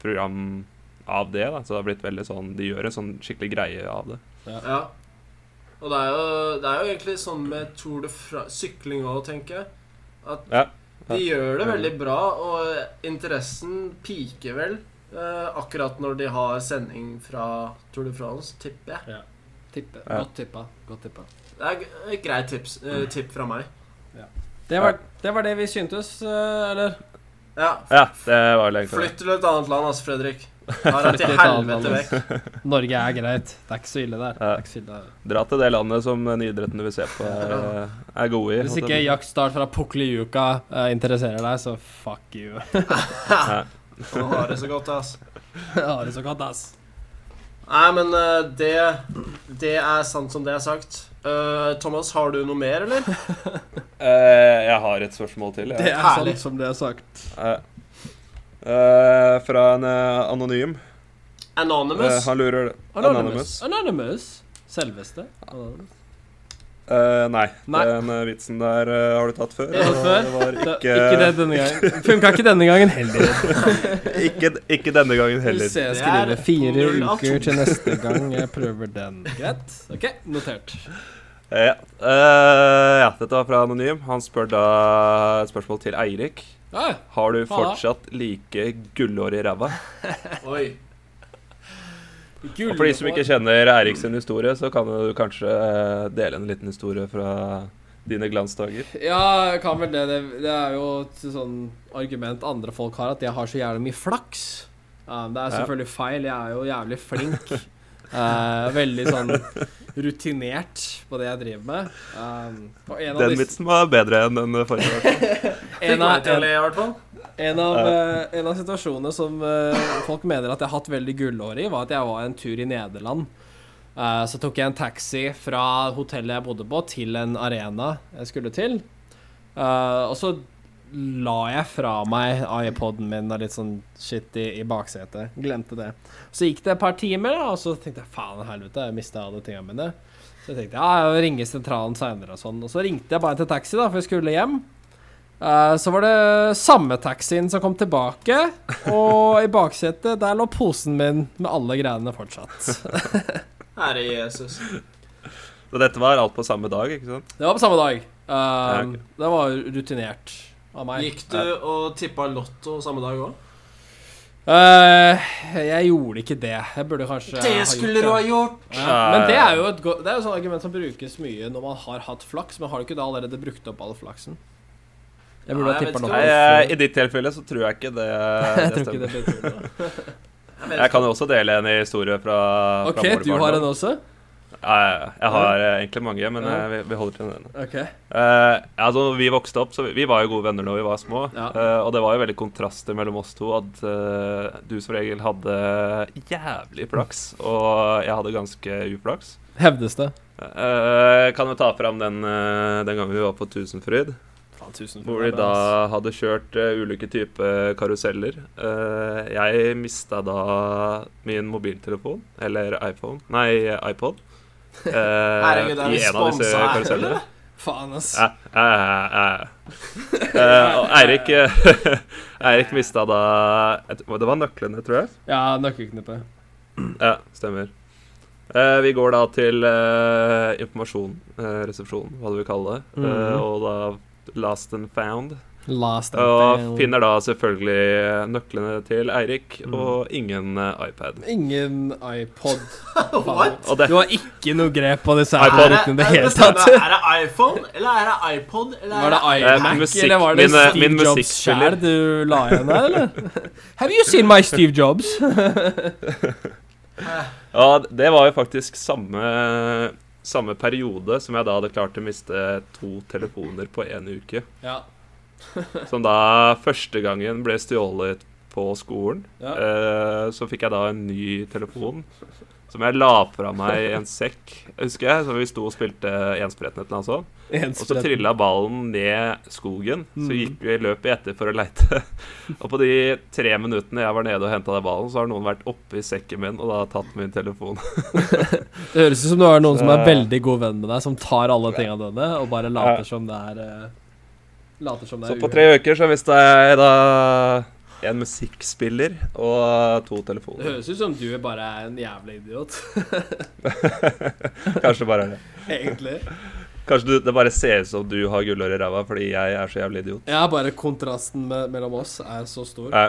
Speaker 2: program av det. da Så det har blitt veldig sånn De gjør en sånn skikkelig greie av det.
Speaker 1: Ja. Og det er jo, det er jo egentlig sånn med Tour de Fra sykling òg, tenker jeg. At
Speaker 2: Ja, ja.
Speaker 1: de gjør det veldig bra, og interessen piker vel eh, akkurat når de har sending fra Tour de France, tipper jeg.
Speaker 3: Tippe.
Speaker 2: Ja.
Speaker 3: Godt tippa. Godt tippa.
Speaker 1: Det er g- et greit tips, eh, tipp fra meg.
Speaker 3: Det var, det var det vi syntes, eh, eller?
Speaker 1: Ja.
Speaker 2: Ja, det var vel egentlig det.
Speaker 1: Flytt til et annet land, altså, Fredrik. Bare
Speaker 3: Flytt til
Speaker 1: til
Speaker 3: et annet land,
Speaker 1: helvete vekk.
Speaker 3: Norge er greit. Det er ikke så ille der. Det
Speaker 2: Ja.
Speaker 3: er ikke så ille der.
Speaker 2: Dra til det landet som den idretten du vil se på, er, er gode i.
Speaker 3: Hvis ikke jaktstart fra Puklijuka eh, interesserer deg, så fuck you.
Speaker 1: Å ha det så godt, ass.
Speaker 3: Jeg har det så godt, ass.
Speaker 1: Nei, men eh, det, det er sant som det er sagt. Eh, Thomas, har du noe mer, eller?
Speaker 2: Eh, jeg har et spørsmål til. Jeg.
Speaker 3: Det er
Speaker 1: Herlig.
Speaker 3: sant som det er sagt.
Speaker 2: Eh, eh, fra en eh, anonym. Eh,
Speaker 1: Anonymous?
Speaker 2: han lurer
Speaker 3: Anonymous. Anonymous. Selveste. Anonymous.
Speaker 2: Eh, nei.
Speaker 3: Nei.
Speaker 2: Den eh, vitsen der eh, har du tatt før.
Speaker 3: Jeg har
Speaker 2: og
Speaker 3: tatt før.
Speaker 2: Det var
Speaker 3: Det,
Speaker 2: ikke,
Speaker 3: ikke det denne gangen. Funka ikke denne gangen heller.
Speaker 2: ikke, ikke denne gangen
Speaker 3: Du
Speaker 2: heller.
Speaker 3: ser jeg
Speaker 1: Det
Speaker 3: skriver
Speaker 1: er
Speaker 3: fire
Speaker 1: null av to.
Speaker 3: uker til neste gang jeg prøver den. Greit. Ok, notert.
Speaker 2: Ja. Eh, ja, dette var fra Anonym. Han spør da et spørsmål til Eirik.
Speaker 3: Ah,
Speaker 2: Har du
Speaker 3: Hva da?
Speaker 2: fortsatt like gullhår i ræva?
Speaker 1: Oi.
Speaker 2: Og for de som ikke kjenner Eirik sin historie, så kan du kanskje eh, dele en liten historie fra dine glansdager.
Speaker 3: Ja, jeg kan vel det. Det, det er jo et sånn argument andre folk har, at jeg har så jævlig mye flaks. Ja, det er
Speaker 2: Ja.
Speaker 3: selvfølgelig feil. Jeg er jo jævlig flink. Eh, veldig sånn rutinert på det jeg driver med. Eh, og en av,
Speaker 2: Den
Speaker 3: disse,
Speaker 2: vitsen var bedre enn den forrige.
Speaker 1: Fikk
Speaker 3: en,
Speaker 1: meg
Speaker 3: av,
Speaker 1: til å
Speaker 3: en,
Speaker 1: le, i hvert fall.
Speaker 3: en, av, eh, en av situasjonene som eh, folk mener at jeg har hatt veldig gullhår i, var at jeg var en tur i Nederland. Eh, så tok jeg en taxi fra hotellet jeg bodde på, til en arena jeg skulle til. Eh, og så la jeg fra meg iPoden min og litt sånn shit i, i baksetet. Glemte det. Så gikk det et par timer, da, og så tenkte jeg faen helvete, jeg mista alle tingene mine. Så jeg tenkte ja, jeg ringer sentralen seinere og sånn. Og så ringte jeg bare til taxi, da, for jeg skulle hjem. Eh, Så var det samme taxien som kom tilbake, og i baksetet der lå posen min med alle greiene fortsatt.
Speaker 1: Herre Jesus.
Speaker 2: Så dette var alt på samme dag, ikke sant?
Speaker 3: Det var på samme dag. Eh,
Speaker 2: ok.
Speaker 3: Det var rutinert av meg.
Speaker 1: Gikk du og tippa Lotto samme dag òg?
Speaker 3: Eh, jeg gjorde ikke det. Jeg burde kanskje ha
Speaker 1: Det
Speaker 3: gjort
Speaker 1: skulle du ha gjort!
Speaker 3: Ja, men det er jo et godt Det er jo sånn argument som brukes mye når man har hatt flaks, men har du ikke da allerede brukt opp all flaksen? Jeg
Speaker 1: Nei,
Speaker 3: burde ha
Speaker 1: jeg
Speaker 3: tippa
Speaker 1: vet
Speaker 3: noe.
Speaker 1: ikke.
Speaker 2: Nei, eh, I ditt tilfelle så tror jeg ikke det,
Speaker 3: Jeg
Speaker 2: det
Speaker 3: tror ikke det
Speaker 2: stemmer.
Speaker 3: blir trodd.
Speaker 2: Jeg kan jo også dele en historie fra, fra
Speaker 3: OK, du har en også?
Speaker 2: Ja, ja, ja. jeg har eh, egentlig mange, men eh, vi, vi holder til den ene.
Speaker 3: OK.
Speaker 2: Eh, altså, vi vokste opp, så vi, vi var jo gode venner da vi var små.
Speaker 3: Ja.
Speaker 2: eh, og det var jo veldig kontraster mellom oss to. At eh, du som regel hadde jævlig flaks, og jeg hadde ganske uflaks.
Speaker 3: Hevdes det.
Speaker 2: Eh, kan jo ta fram den, eh, den gangen vi var på Tusenfryd.
Speaker 3: Faen, tusen
Speaker 2: Hvor de da hadde kjørt eh, ulike typer karuseller. Eh, jeg mista da min mobiltelefon, eller iPhone Nei, iPod. eh,
Speaker 1: Herregud, er vi sponset her, eller?
Speaker 3: Faen, ass.
Speaker 2: Ja, ja, ja, ja. Eh, og Eirik eh, Eirik mista da jeg tror- Det var nøklene, tror jeg.
Speaker 3: Ja, nøkkelknippet.
Speaker 2: Ja, stemmer. Eh, vi går da til eh, informasjon, eh, resepsjon, hva du vil kalle det. Eh,
Speaker 3: Mhm.
Speaker 2: og da Last and Found.
Speaker 3: Last
Speaker 2: Og finner da selvfølgelig eh, nøklene til Eirik
Speaker 3: Mm.
Speaker 2: og ingen eh, iPad.
Speaker 3: Ingen iPod.
Speaker 1: What?
Speaker 2: Og det,
Speaker 3: Du har ikke noe grep på disse
Speaker 2: iPod.
Speaker 3: her i det hele tatt.
Speaker 1: Er det iPhone, eller er det iPod, eller
Speaker 3: Var det
Speaker 1: er det
Speaker 2: Eh,
Speaker 3: iMac,
Speaker 2: musikk-
Speaker 3: eller var det
Speaker 2: min, eh,
Speaker 3: Steve
Speaker 2: min
Speaker 3: Jobs
Speaker 2: musikkspiller.
Speaker 3: sjæl du la igjen der, eller? Have you seen my Steve Jobs?
Speaker 2: ja, det var jo faktisk samme, samme periode som jeg da hadde klart å miste to telefoner på én uke.
Speaker 3: Ja.
Speaker 2: Som da første gangen ble stjålet på skolen.
Speaker 3: Ja.
Speaker 2: Eh, så fikk jeg da en ny telefon som jeg la fra meg i en sekk, husker jeg. Så vi sto og spilte enspretten et eller annet sånt. Eh, Og så trilla ballen ned skogen. Så
Speaker 3: Mhm.
Speaker 2: gikk vi løpet etter for å leite. Og på de tre minuttene jeg var nede og henta den ballen, så har noen vært oppe i sekken min og da tatt min telefon.
Speaker 3: Det høres ut som du har noen som er
Speaker 2: Så-
Speaker 3: veldig god venn med deg, som tar alle tinga dine og bare later som det er eh, Later som det
Speaker 2: Så
Speaker 3: er
Speaker 2: på tre uker så mista jeg da en musikkspiller og to
Speaker 3: uhell.
Speaker 2: telefoner.
Speaker 3: Det høres ut som du bare er en jævlig idiot,
Speaker 2: Kanskje bare det.
Speaker 3: egentlig.
Speaker 2: Kanskje du, det bare ser ut som du har gullhår i ræva fordi jeg er så jævlig idiot.
Speaker 3: Ja, bare kontrasten me mellom oss er så stor.
Speaker 2: Nei,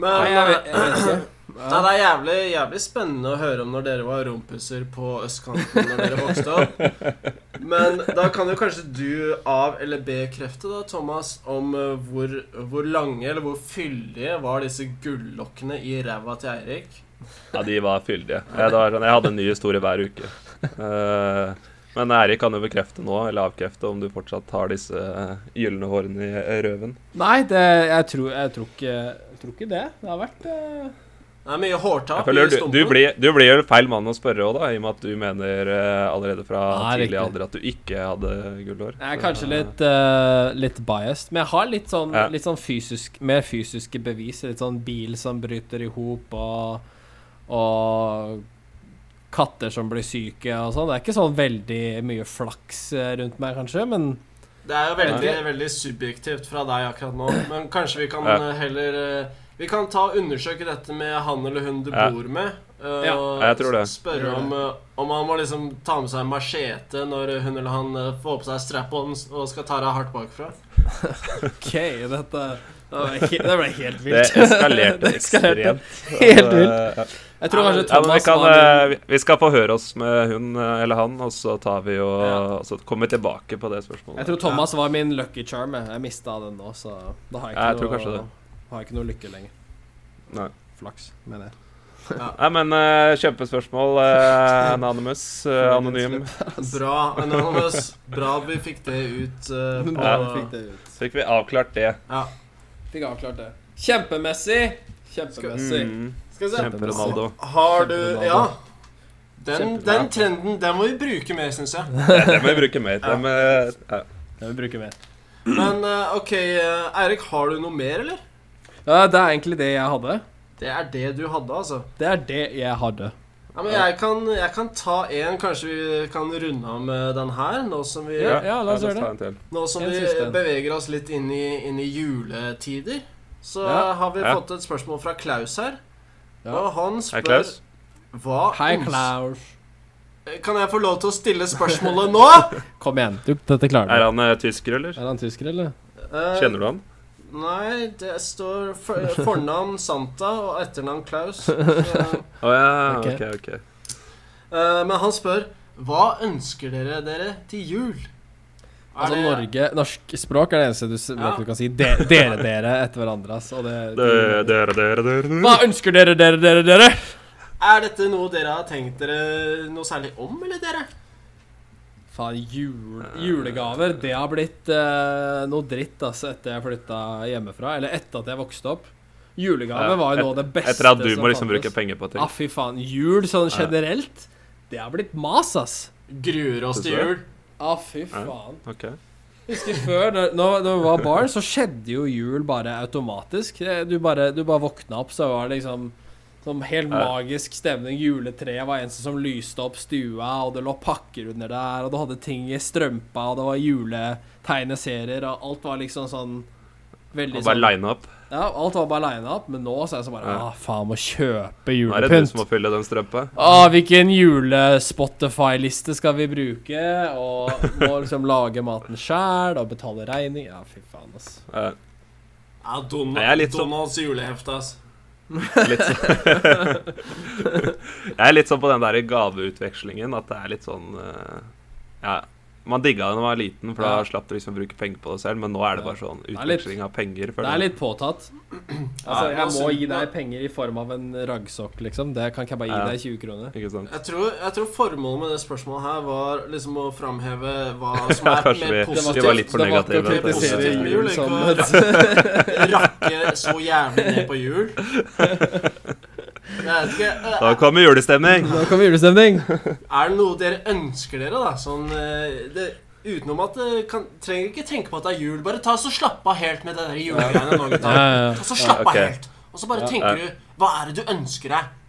Speaker 3: Nei,
Speaker 1: Men
Speaker 3: jeg
Speaker 1: eh,
Speaker 3: vet, jeg vet ikke.
Speaker 1: Nei, det er jævlig, jævlig spennende å høre om når dere var rompuser på østkanten når dere vokste opp. Men da kan jo kanskje du av- eller bekrefte, da, Thomas, om eh, hvor, hvor lange eller hvor fyldige var disse gullokkene i ræva til Eirik?
Speaker 2: Ja, de var fyldige. Jeg, det var sånn, jeg hadde en ny historie hver uke. Eh, men Eirik kan jo bekrefte nå, eller avkrefte, om du fortsatt har disse eh, gylne hårene i eh, røven.
Speaker 3: Nei, det, jeg, tror, jeg, tror ikke, jeg tror ikke det. Det har vært eh,
Speaker 1: Det er mye hårtap.
Speaker 2: Jeg føler
Speaker 1: mye
Speaker 2: du, du,
Speaker 1: stumper.
Speaker 2: blir, du blir jo feil mann å spørre òg, da, i og med at du mener eh, allerede fra
Speaker 3: Ja,
Speaker 2: tidlig
Speaker 3: riktig.
Speaker 2: alder at du ikke hadde gullhår.
Speaker 3: Jeg er
Speaker 2: Så,
Speaker 3: kanskje
Speaker 2: eh,
Speaker 3: litt, eh, litt biased, men jeg har litt sånn,
Speaker 2: Ja.
Speaker 3: litt sånn fysisk, mer fysiske bevis. Litt sånn bil som bryter i hop, og, og katter som blir syke og sånn. Det er ikke sånn veldig mye flaks eh, rundt meg, kanskje, men
Speaker 1: Det er jo veldig, veldig subjektivt fra deg akkurat nå, men kanskje vi kan
Speaker 2: Ja.
Speaker 1: eh, heller eh, Vi kan ta og undersøke dette med han eller hun du
Speaker 2: Ja.
Speaker 1: bor med, eh, eh,
Speaker 3: Ja.
Speaker 1: og
Speaker 2: Ja, jeg tror det.
Speaker 1: spørre om, eh, om han må liksom ta med seg en machete når hun eller han eh, får på seg strap-ons og skal ta deg hardt bakfra.
Speaker 3: OK, dette det ble, he- det ble helt
Speaker 2: Det
Speaker 3: vilt.
Speaker 2: eskalerte
Speaker 3: Det eskalerte.
Speaker 2: ekstremt.
Speaker 3: Helt
Speaker 2: vilt.
Speaker 3: Jeg tror kanskje
Speaker 2: Ja, men vi,
Speaker 3: Thomas
Speaker 2: kan,
Speaker 3: var
Speaker 2: eh, vi- vi skal forhøre oss med hun eh, eller han, og så tar vi og,
Speaker 3: Ja.
Speaker 2: og så kommer vi tilbake på det spørsmålet.
Speaker 3: Jeg tror Thomas var min lucky charm. jeg. Jeg mista den nå, så da har jeg
Speaker 2: Ja, jeg
Speaker 3: ikke,
Speaker 2: tror kanskje
Speaker 3: noe,
Speaker 2: det.
Speaker 3: har jeg ikke noe lykke lenger.
Speaker 2: Nei.
Speaker 3: Flaks, mener jeg.
Speaker 2: Nei, men eh, kjempespørsmål, eh, Anonymous, eh, anonym.
Speaker 1: Bra, Anonymous. Bra vi fikk det ut. eh, på-
Speaker 3: Da fikk det ut.
Speaker 2: Så fikk vi avklart det.
Speaker 1: Ja.
Speaker 4: Fikk avklart det. Kjempemessig! Kjempemessig.
Speaker 2: Mm.
Speaker 1: Skal vi se.
Speaker 2: Kjempe-Ronaldo.
Speaker 1: Har du
Speaker 3: Kjempe-Ronaldo.
Speaker 1: Ja. Den,
Speaker 3: Kjempebra.
Speaker 1: den trenden den må vi bruke mer, syns jeg.
Speaker 2: Det, det må vi bruke mer. Det må, ja.
Speaker 3: Det vil vi bruke mer.
Speaker 1: Men eh, OK, eh, Eirik, har du noe mer, eller?
Speaker 3: Ja, det er egentlig det jeg hadde.
Speaker 1: Det er det du hadde, altså.
Speaker 3: Det er det jeg hadde.
Speaker 1: Ja, men jeg kan, jeg kan ta en, kanskje vi kan runde av med den her, nå som vi,
Speaker 3: Ja, ja, la oss gjøre
Speaker 2: ta en til.
Speaker 1: nå som
Speaker 3: en
Speaker 1: vi
Speaker 3: siste.
Speaker 1: beveger oss litt inn i, inn i juletider. Så
Speaker 3: Ja.
Speaker 1: eh, har vi
Speaker 2: Ja.
Speaker 1: fått et spørsmål fra Klaus her.
Speaker 3: Ja.
Speaker 1: Og han
Speaker 2: Hei,
Speaker 1: spør
Speaker 2: Klaus.
Speaker 1: hva
Speaker 3: Hei,
Speaker 1: øns-
Speaker 3: Klaus.
Speaker 1: Kan jeg få lov til å stille spørsmålet nå?
Speaker 3: Kom igjen. Du, dette klarer
Speaker 2: Er
Speaker 3: du.
Speaker 2: han eh, tysker, eller?
Speaker 3: Er han tysker, eller?
Speaker 1: Eh,
Speaker 2: Kjenner du han?
Speaker 1: Nei, det står for, fornavn Santa og etternavn Klaus. Så,
Speaker 2: Å ja,
Speaker 3: Ok.
Speaker 2: ok, ok.
Speaker 1: Eh, men han spør Hva ønsker dere dere til jul? Er
Speaker 3: Altså,
Speaker 1: det-
Speaker 3: Norge, Norsk språk er det eneste du, s-
Speaker 1: Ja.
Speaker 3: du kan si. De, dere, dere etter hverandre. ass, og det-
Speaker 2: Dere, dere, dere, dere.
Speaker 3: Hva ønsker dere, dere, dere, dere?
Speaker 1: Er dette noe dere har tenkt dere noe særlig om, eller dere?
Speaker 3: Faen, jul, julegaver. Det har blitt eh, noe dritt altså, etter jeg flytta hjemmefra. Eller etter at jeg vokste opp. Julegaver
Speaker 2: Ja,
Speaker 3: var jo
Speaker 2: et-
Speaker 3: noe av det beste
Speaker 2: Etter at du
Speaker 3: som
Speaker 2: må liksom bruke
Speaker 3: fantes.
Speaker 2: penger på ting.
Speaker 3: Ah, fy faen. Jul sånn generelt, det har blitt mas, ass.
Speaker 1: Gruer oss til
Speaker 2: Dessverre.
Speaker 1: jul.
Speaker 3: Ah, fy faen.
Speaker 2: Ok.
Speaker 3: Husker før, når, når når vi var barn, så skjedde jo jul bare automatisk. Eh, Du bare, du bare våkna opp, så var det liksom sånn helt
Speaker 2: Ja.
Speaker 3: magisk stemning. Juletreet var eneste som lyste opp stua, og det lå pakker under der, og du hadde ting i strømpa, og det var juletegneserier, og alt var liksom sånn
Speaker 2: Og
Speaker 3: Veldig
Speaker 2: bare
Speaker 3: sånn
Speaker 2: line opp.
Speaker 3: Ja, alt var bare lina opp, men nå så er det sånn bare
Speaker 2: Ja.
Speaker 3: ah, faen, må kjøpe
Speaker 2: Nå er det du
Speaker 3: julepynt.
Speaker 2: som må fylle den strømpa.
Speaker 3: Ah, hvilken jule-Spotify-liste skal vi bruke? Og må liksom lage maten sjæl og betale regning Ja, fy faen, altså.
Speaker 2: Ja,
Speaker 1: Ja, Don
Speaker 2: Jeg er litt sånn-
Speaker 1: Donalds julehefte, ass.
Speaker 2: litt sånn. Jeg er litt sånn på den der gaveutvekslingen at det er litt sånn eh, Ja, man digga det da man var liten, for da
Speaker 3: Ja.
Speaker 2: slapp du liksom å bruke penger på det selv, men nå er det bare sånn
Speaker 3: er litt-
Speaker 2: utveksling av penger.
Speaker 3: Det er litt påtatt. Altså, jeg må gi deg penger i form av en raggsokk, liksom. Det kan ikke jeg bare gi
Speaker 2: Ja.
Speaker 3: deg 20 kroner.
Speaker 2: Ikke sant?
Speaker 1: Jeg tror, jeg tror formålet med det spørsmålet her var liksom å framheve hva som
Speaker 2: Ja,
Speaker 1: er
Speaker 2: kanskje
Speaker 1: mer
Speaker 2: vi-
Speaker 1: positivt.
Speaker 2: vi var litt for
Speaker 3: det var ikke å
Speaker 2: negative.
Speaker 3: kritisere
Speaker 1: Det er
Speaker 3: jul
Speaker 1: positivt.
Speaker 3: som
Speaker 1: Det
Speaker 3: et
Speaker 1: Rakke så jævlig ned på jul. Jeg vet ikke eh,
Speaker 2: Da kommer julestemning!
Speaker 3: Nå kommer julestemning.
Speaker 1: Er det noe dere ønsker dere, da? Sånn eh, det, Utenom at det kan, Trenger ikke tenke på at det er jul. Bare ta så slapp av helt med det der julegreiene nå,
Speaker 3: Ja,
Speaker 1: gutta.
Speaker 3: ja, ja.
Speaker 1: Og så slapp av
Speaker 2: ok.
Speaker 1: helt. Og så bare tenker du Hva er det du ønsker deg?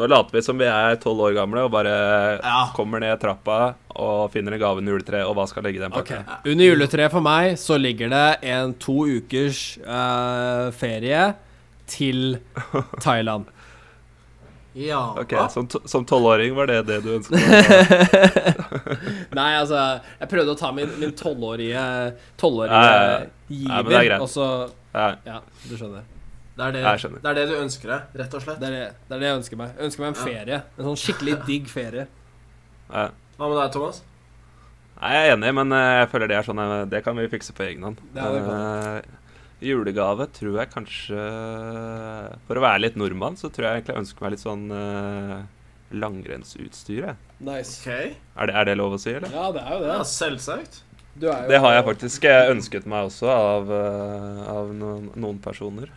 Speaker 2: Nå later vi som vi er tolv år gamle og bare
Speaker 1: Ja.
Speaker 2: kommer ned trappa og finner en gave under juletreet, og hva skal ligge i den
Speaker 3: Ok.
Speaker 2: pakken?
Speaker 3: Under juletreet for meg så ligger det en to ukers eh, ferie til Thailand.
Speaker 1: Ja
Speaker 2: Ok,
Speaker 1: hva?
Speaker 2: Som to- som tolvåring var det det du ønska?
Speaker 3: Nei, altså Jeg prøvde å ta min, min tolvårige Tolvårige
Speaker 2: Ja, ja, ja. Ja, men det er
Speaker 3: giver,
Speaker 2: greit.
Speaker 3: og så
Speaker 2: Ja.
Speaker 3: Ja, du skjønner.
Speaker 1: det, er det,
Speaker 2: Jeg skjønner.
Speaker 1: det er det du ønsker deg, rett og slett.
Speaker 3: Det er det, det er det jeg ønsker meg. Jeg ønsker meg en
Speaker 1: Ja.
Speaker 3: ferie. En sånn skikkelig digg ferie.
Speaker 2: ja.
Speaker 1: Hva med deg, Thomas?
Speaker 2: Nei, jeg er enig, men eh, jeg føler det er sånn eh, Det kan vi fikse på egen hånd.
Speaker 3: Ja, det kan
Speaker 2: Eh, Julegave tror jeg kanskje For å være litt nordmann, så tror jeg egentlig jeg ønsker meg litt sånn eh, langrennsutstyr, jeg.
Speaker 3: Nice.
Speaker 1: Ok.
Speaker 2: Er det, er det lov å si, eller?
Speaker 3: Ja, det er jo det.
Speaker 1: Ja, selvsagt.
Speaker 3: Du er jo
Speaker 2: Det har jeg faktisk eh, ønsket meg også av, eh, av noen, noen personer.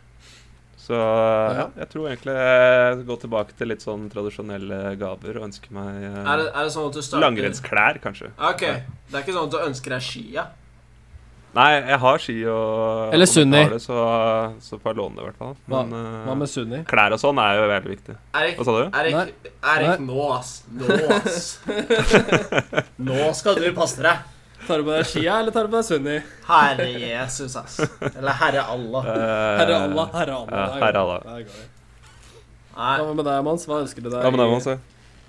Speaker 2: Så eh, ja, jeg tror egentlig jeg går tilbake til litt sånn tradisjonelle gaver og ønsker meg eh,
Speaker 1: Er det, er det sånn at du starter
Speaker 2: langrennsklær, kanskje.
Speaker 1: Ok. Det er ikke sånn at du ønsker deg skia?
Speaker 2: Nei, jeg har ski og
Speaker 3: Eller
Speaker 2: om jeg
Speaker 3: Sunni.
Speaker 2: tar det, Så, så får jeg låne det, i hvert fall.
Speaker 3: Hva-
Speaker 2: Men eh,
Speaker 3: Hva med Sunni?
Speaker 2: klær og sånn er jo veldig viktig.
Speaker 1: Erik,
Speaker 2: Hva sa du?
Speaker 1: Erik, Erik nå, ass. Nå, ass. Nå skal du passe deg.
Speaker 3: Tar du på deg skia, eller tar du på deg Sunni?
Speaker 1: Herre Jesus, ass. Eller Herre Allah.
Speaker 2: Eh,
Speaker 3: Herre Allah, herre Allah.
Speaker 2: ja,
Speaker 3: Der går
Speaker 2: herre
Speaker 3: det.
Speaker 2: Allah.
Speaker 3: Der går det.
Speaker 1: Nei.
Speaker 3: Hva med deg, Mons? Hva ønsker du deg?
Speaker 2: Ja, men det må man se.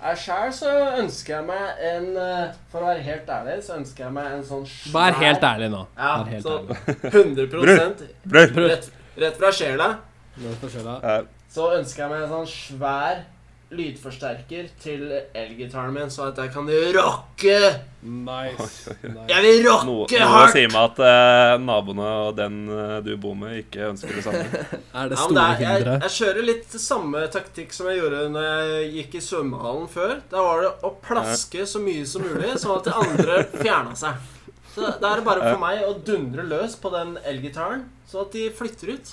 Speaker 1: Jeg sjæl så ønsker jeg meg en eh, For å være helt ærlig, så ønsker jeg meg en sånn svær
Speaker 3: Vær helt ærlig nå.
Speaker 1: Ja,
Speaker 3: Vær helt
Speaker 1: så
Speaker 3: ærlig.
Speaker 1: 100
Speaker 2: Bror!
Speaker 1: rett, rett fra sjela
Speaker 3: Nå får jeg skjønne.
Speaker 2: Eh,
Speaker 1: så ønsker jeg meg en sånn svær lydforsterker til elgitaren min, så at jeg kan rocke
Speaker 3: Nice. nice.
Speaker 1: Jeg vil
Speaker 2: no-
Speaker 1: rocke
Speaker 2: Noe
Speaker 1: hardt!
Speaker 2: sier meg at eh, naboene og den eh, du bor med, ikke ønsker det samme.
Speaker 3: Er det
Speaker 1: Ja, men
Speaker 3: store
Speaker 1: det er, jeg,
Speaker 3: hindre?
Speaker 1: jeg kjører litt samme taktikk som jeg gjorde når jeg gikk i svømmehallen før. Da var det å plaske så mye som mulig, sånn at de andre fjerna seg. Så Da er det bare for meg å dundre løs på den elgitaren, sånn at de flytter ut.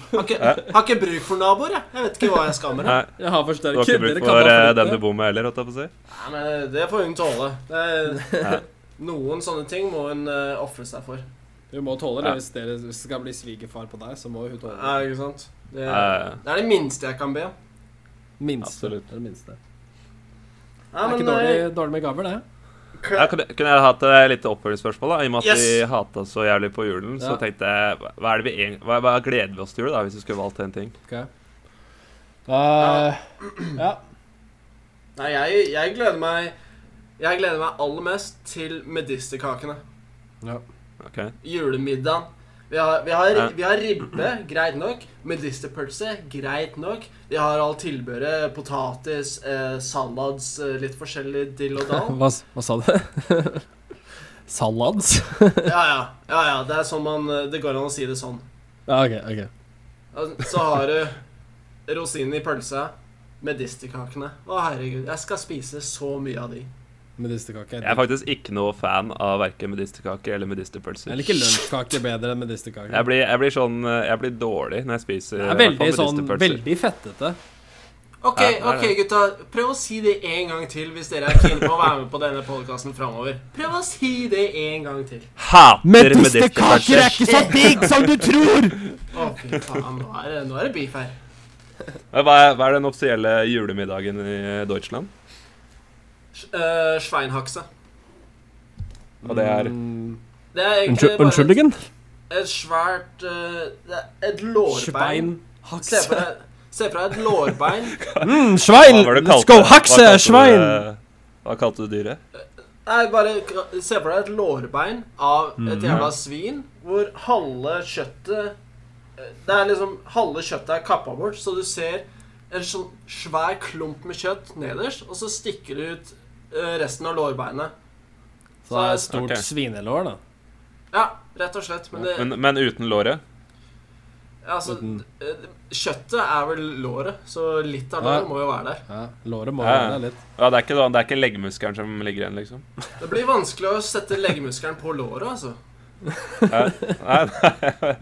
Speaker 1: Har ikke, har ikke bruk for naboer, jeg. Jeg vet ikke hva jeg skal med det.
Speaker 2: Nei,
Speaker 3: Jeg har
Speaker 2: du har
Speaker 3: forsterker.
Speaker 2: ikke
Speaker 3: Dere
Speaker 2: bruk
Speaker 3: kan
Speaker 2: for eh,
Speaker 3: bare
Speaker 2: den du
Speaker 3: flytte.
Speaker 2: bor med heller, holdt jeg på å si.
Speaker 1: Nei, men det får hun tåle. Det er,
Speaker 2: Ja.
Speaker 1: noen sånne ting må hun uh, ofre seg for.
Speaker 3: Du må tåle
Speaker 2: Ja.
Speaker 3: det hvis dere skal bli svigerfar på deg, så må hun tåle det.
Speaker 1: Ja, ikke sant? Det,
Speaker 2: Ja.
Speaker 1: det er det minste jeg kan be om.
Speaker 3: Minste.
Speaker 2: Absolutt.
Speaker 3: Det er det minste. Det
Speaker 1: Nei, men,
Speaker 3: er ikke dårlig, dårlig med gaver, det.
Speaker 1: eh,
Speaker 2: Ja, kunne, kunne jeg hatt et lite oppfølgingsspørsmål? da? I og med at
Speaker 1: Yes!
Speaker 2: vi hata så jævlig på julen, så
Speaker 3: Ja.
Speaker 2: tenkte jeg hva- Hva er det vi egentlig, hva, hva gleder vi oss til jul, da, hvis vi skulle valgt en ting?
Speaker 3: Ok. Eh, ja.
Speaker 1: Nei, jeg, jeg gleder meg Jeg gleder meg aller mest til medisterkakene.
Speaker 3: ja.
Speaker 2: Ok?
Speaker 1: Julemiddagen. Vi har, vi, har,
Speaker 2: Ja.
Speaker 1: vi har ribbe, greit nok. Medisterpølse, greit nok. Vi har alt tilbehøret. Potatis, eh, salads, eh, litt forskjellig dill og dall.
Speaker 3: Hva, s- hva sa du? Salads?
Speaker 1: Ja, ja. ja, ja det, er sånn man, eh, det går an å si det sånn.
Speaker 3: Ja, ok, ok.
Speaker 1: Altså, Så har du rosinen i pølsa. Medisterkakene. Å, herregud. Jeg skal spise så mye av de.
Speaker 3: Medisterkake.
Speaker 2: Jeg er faktisk ikke noe fan av verken medisterkake eller medisterpølser.
Speaker 3: Jeg liker lunsjkake bedre enn medisterkake.
Speaker 2: Jeg blir, jeg blir sånn eh, Jeg blir dårlig når jeg spiser
Speaker 3: Det
Speaker 2: i
Speaker 3: er
Speaker 2: hvert fall
Speaker 3: veldig sånn
Speaker 2: medisterpølser.
Speaker 3: Veldig fettete.
Speaker 1: Ok,
Speaker 2: Ja, det er
Speaker 1: ok,
Speaker 2: det.
Speaker 1: gutta. Prøv å si det en gang til hvis dere er keen på å være med på denne podkasten framover. Prøv å si det en gang til.
Speaker 2: Hater medisterpølser.
Speaker 3: ikke så digg som du tror!
Speaker 1: Å, fy faen. Nå er det, nå er det beef her.
Speaker 2: Men Hva, er- hva er den offisielle julemiddagen i Deutschland?
Speaker 1: Uh, Sveinhakse.
Speaker 2: Og det er
Speaker 3: Mm.
Speaker 1: Det er egentlig
Speaker 3: Unnskyld, unnskyldningen?
Speaker 1: bare et, et svært eh, det er Et lårbein. Se for
Speaker 3: Sveinhakse.
Speaker 1: deg Se for deg et lårbein.
Speaker 3: Mm,
Speaker 2: Hva
Speaker 3: Svein,
Speaker 2: var det du
Speaker 3: let's
Speaker 2: kalte
Speaker 3: go,
Speaker 2: det? Hva
Speaker 3: hakse,
Speaker 2: kalte du
Speaker 3: Svein!
Speaker 2: det- Hva kalte du dyret?
Speaker 1: Nei, bare k- se for deg et lårbein av et
Speaker 2: Mm.
Speaker 3: Mhm.
Speaker 1: jævla svin hvor halve kjøttet eh, Det er liksom Halve kjøttet er kappa bort, så du ser en sånn svær klump med kjøtt nederst, og så stikker det ut eh, resten av lårbeinet.
Speaker 3: Så det er et stort
Speaker 2: Ok.
Speaker 3: svinelår, da.
Speaker 1: Ja, rett og slett. Men det,
Speaker 2: Men, Mm. men uten låret?
Speaker 1: altså
Speaker 3: uten-
Speaker 1: eh, Kjøttet er vel låret, så litt av
Speaker 3: Ja.
Speaker 1: låret må jo være der.
Speaker 3: Ja, låret må
Speaker 2: Ja, ja.
Speaker 3: være der litt.
Speaker 2: Ja, det er ikke, da- det er ikke leggmuskelen som ligger igjen, liksom?
Speaker 1: Det blir vanskelig å sette leggmuskelen på låret, altså.
Speaker 2: Nei, nei, nei.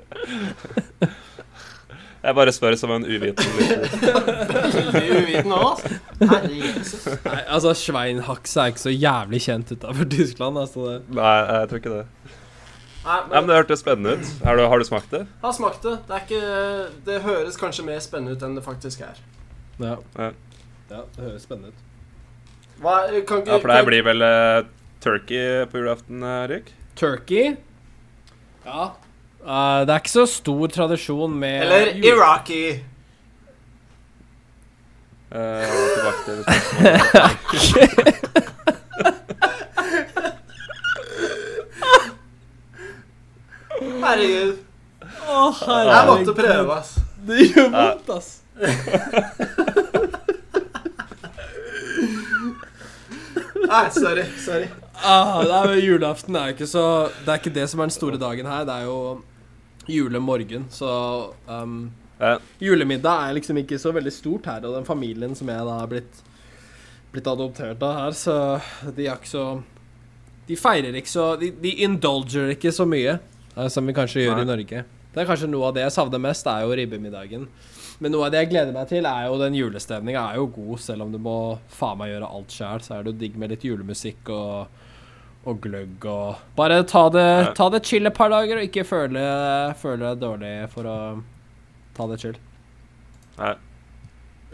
Speaker 2: Jeg bare spør som en uvitende lytter.
Speaker 1: Veldig uvitende òg, altså. Herre Jesus.
Speaker 3: Nei, altså, sveinhakse er ikke så jævlig kjent utafor Tyskland, altså. Det.
Speaker 2: Nei, jeg tror ikke det.
Speaker 1: Nei,
Speaker 2: Nei, men Det hørtes spennende ut. Er du, har du smakt det?
Speaker 1: Har smakt det. Det, er ikke, det høres kanskje mer spennende ut enn det faktisk er.
Speaker 3: Ja.
Speaker 2: Ja.
Speaker 3: ja, det høres spennende ut.
Speaker 1: Hva, kan ikke,
Speaker 2: Ja, For det her blir vel eh, turkey på julaften, eh, Erik?
Speaker 3: Turkey Ja. Eh, det er ikke så stor tradisjon med
Speaker 1: Eller
Speaker 3: jul-
Speaker 1: Iraqi.
Speaker 2: Eh, tilbake til spørsmålet.
Speaker 1: Herregud.
Speaker 3: Å,
Speaker 1: Jeg
Speaker 2: Herregud.
Speaker 1: måtte prøve, ass.
Speaker 3: Det gjør vondt, ass.
Speaker 1: Nei, sorry. sorry.
Speaker 3: Ah, det er jo, julaften er jo ikke så Det er ikke det som er den store dagen her. Det er jo julemorgen, så um,
Speaker 2: Ja.
Speaker 3: Julemiddag er liksom ikke så veldig stort her, og den familien som jeg da har blitt, blitt adoptert av her, så de er ikke så De feirer ikke så De, de indulger ikke så mye eh, som vi kanskje gjør
Speaker 2: Nei.
Speaker 3: i Norge. Det er kanskje noe av det jeg savner mest, er jo ribbemiddagen. Men noe av det jeg gleder meg til, er jo den julestemninga er jo god, selv om du må faen meg gjøre alt sjæl. Så er det jo digg med litt julemusikk og, og gløgg og Bare ta det,
Speaker 2: Ja.
Speaker 3: ta det chill et par dager, og ikke føle, føle deg dårlig for å ta det chill.
Speaker 2: Nei,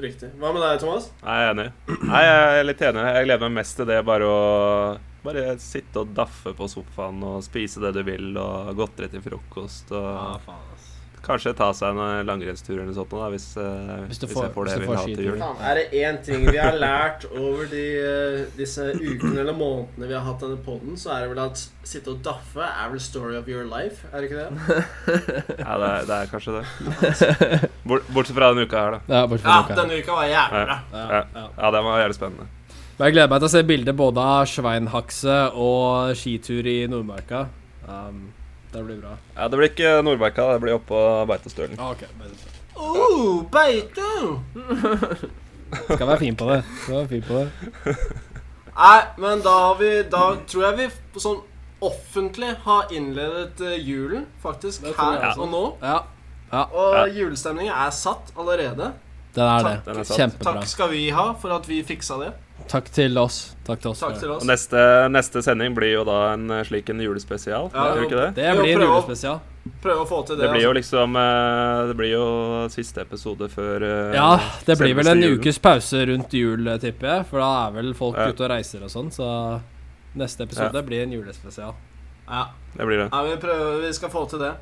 Speaker 1: Riktig. Hva med deg, Thomas?
Speaker 2: Nei, jeg er enig. Nei, jeg er litt enig. Jeg gleder meg mest til det bare å bare sitte og daffe på sofaen og spise det du vil, og godteri til frokost og
Speaker 3: faen, ass.
Speaker 2: Kanskje ta seg en eh, langrennstur eller noe sånt nå, da, hvis, eh,
Speaker 3: Hvis du
Speaker 2: hvis
Speaker 3: får-
Speaker 2: jeg får
Speaker 3: hvis
Speaker 2: det
Speaker 3: du
Speaker 2: jeg
Speaker 3: får
Speaker 2: vil ha til jul.
Speaker 3: skitur.
Speaker 1: Faen, er det én ting vi har lært over de, eh, disse ukene eller månedene vi har hatt denne poden, så er det vel at sitte og daffe er vel story of your life, er det ikke det?
Speaker 2: Ja, det, er- det er kanskje det. Bort, bortsett fra denne uka her, da.
Speaker 3: Ja, bortsett
Speaker 1: Ja,
Speaker 3: fra dere.
Speaker 1: denne uka var jævlig bra.
Speaker 3: Ja.
Speaker 2: Ja, ja den var jævlig spennende.
Speaker 3: Men jeg gleder meg til å se bilder både av sveinhakse og skitur i Nordmarka. Um, det blir bra.
Speaker 2: Ja, Det blir ikke Nordmarka, det blir oppå Beitostølen.
Speaker 3: Ah, ok.
Speaker 1: Oh, beite!
Speaker 3: Skal være fin på det. Skal være fin på det.
Speaker 1: Nei, men da har vi Da tror jeg vi på sånn offentlig har innledet eh, julen, faktisk,
Speaker 4: Det tror jeg
Speaker 1: her
Speaker 2: også.
Speaker 1: og nå.
Speaker 3: Ja,
Speaker 1: Og
Speaker 2: Ja.
Speaker 1: julestemningen er satt allerede.
Speaker 3: den er det.
Speaker 1: Takk.
Speaker 2: Den er satt.
Speaker 3: Kjempebra.
Speaker 1: Takk skal vi ha for at vi fiksa det.
Speaker 3: Takk til oss. Takk til oss.
Speaker 1: Takk til
Speaker 2: Og
Speaker 1: oss.
Speaker 2: neste, neste sending blir jo da en eh, slik en julespesial.
Speaker 1: Ja,
Speaker 2: gjør det ikke det?
Speaker 3: Det
Speaker 1: Vi må
Speaker 3: blir en
Speaker 1: prøve å-
Speaker 3: julespesial.
Speaker 1: Prøve å få til
Speaker 2: Det
Speaker 1: det.
Speaker 2: blir jo liksom eh, Det blir jo siste episode før eh,
Speaker 3: Ja, det blir vel en
Speaker 2: selveste julen.
Speaker 3: ukes pause rundt jul, eh, tipper jeg. For da er vel folk
Speaker 2: Ja.
Speaker 3: ute og reiser og sånn, så neste episode blir en
Speaker 1: altså.
Speaker 3: julespesial.
Speaker 1: Ja.
Speaker 2: Det blir det.
Speaker 1: Ja, vi prøver, vi skal få til det.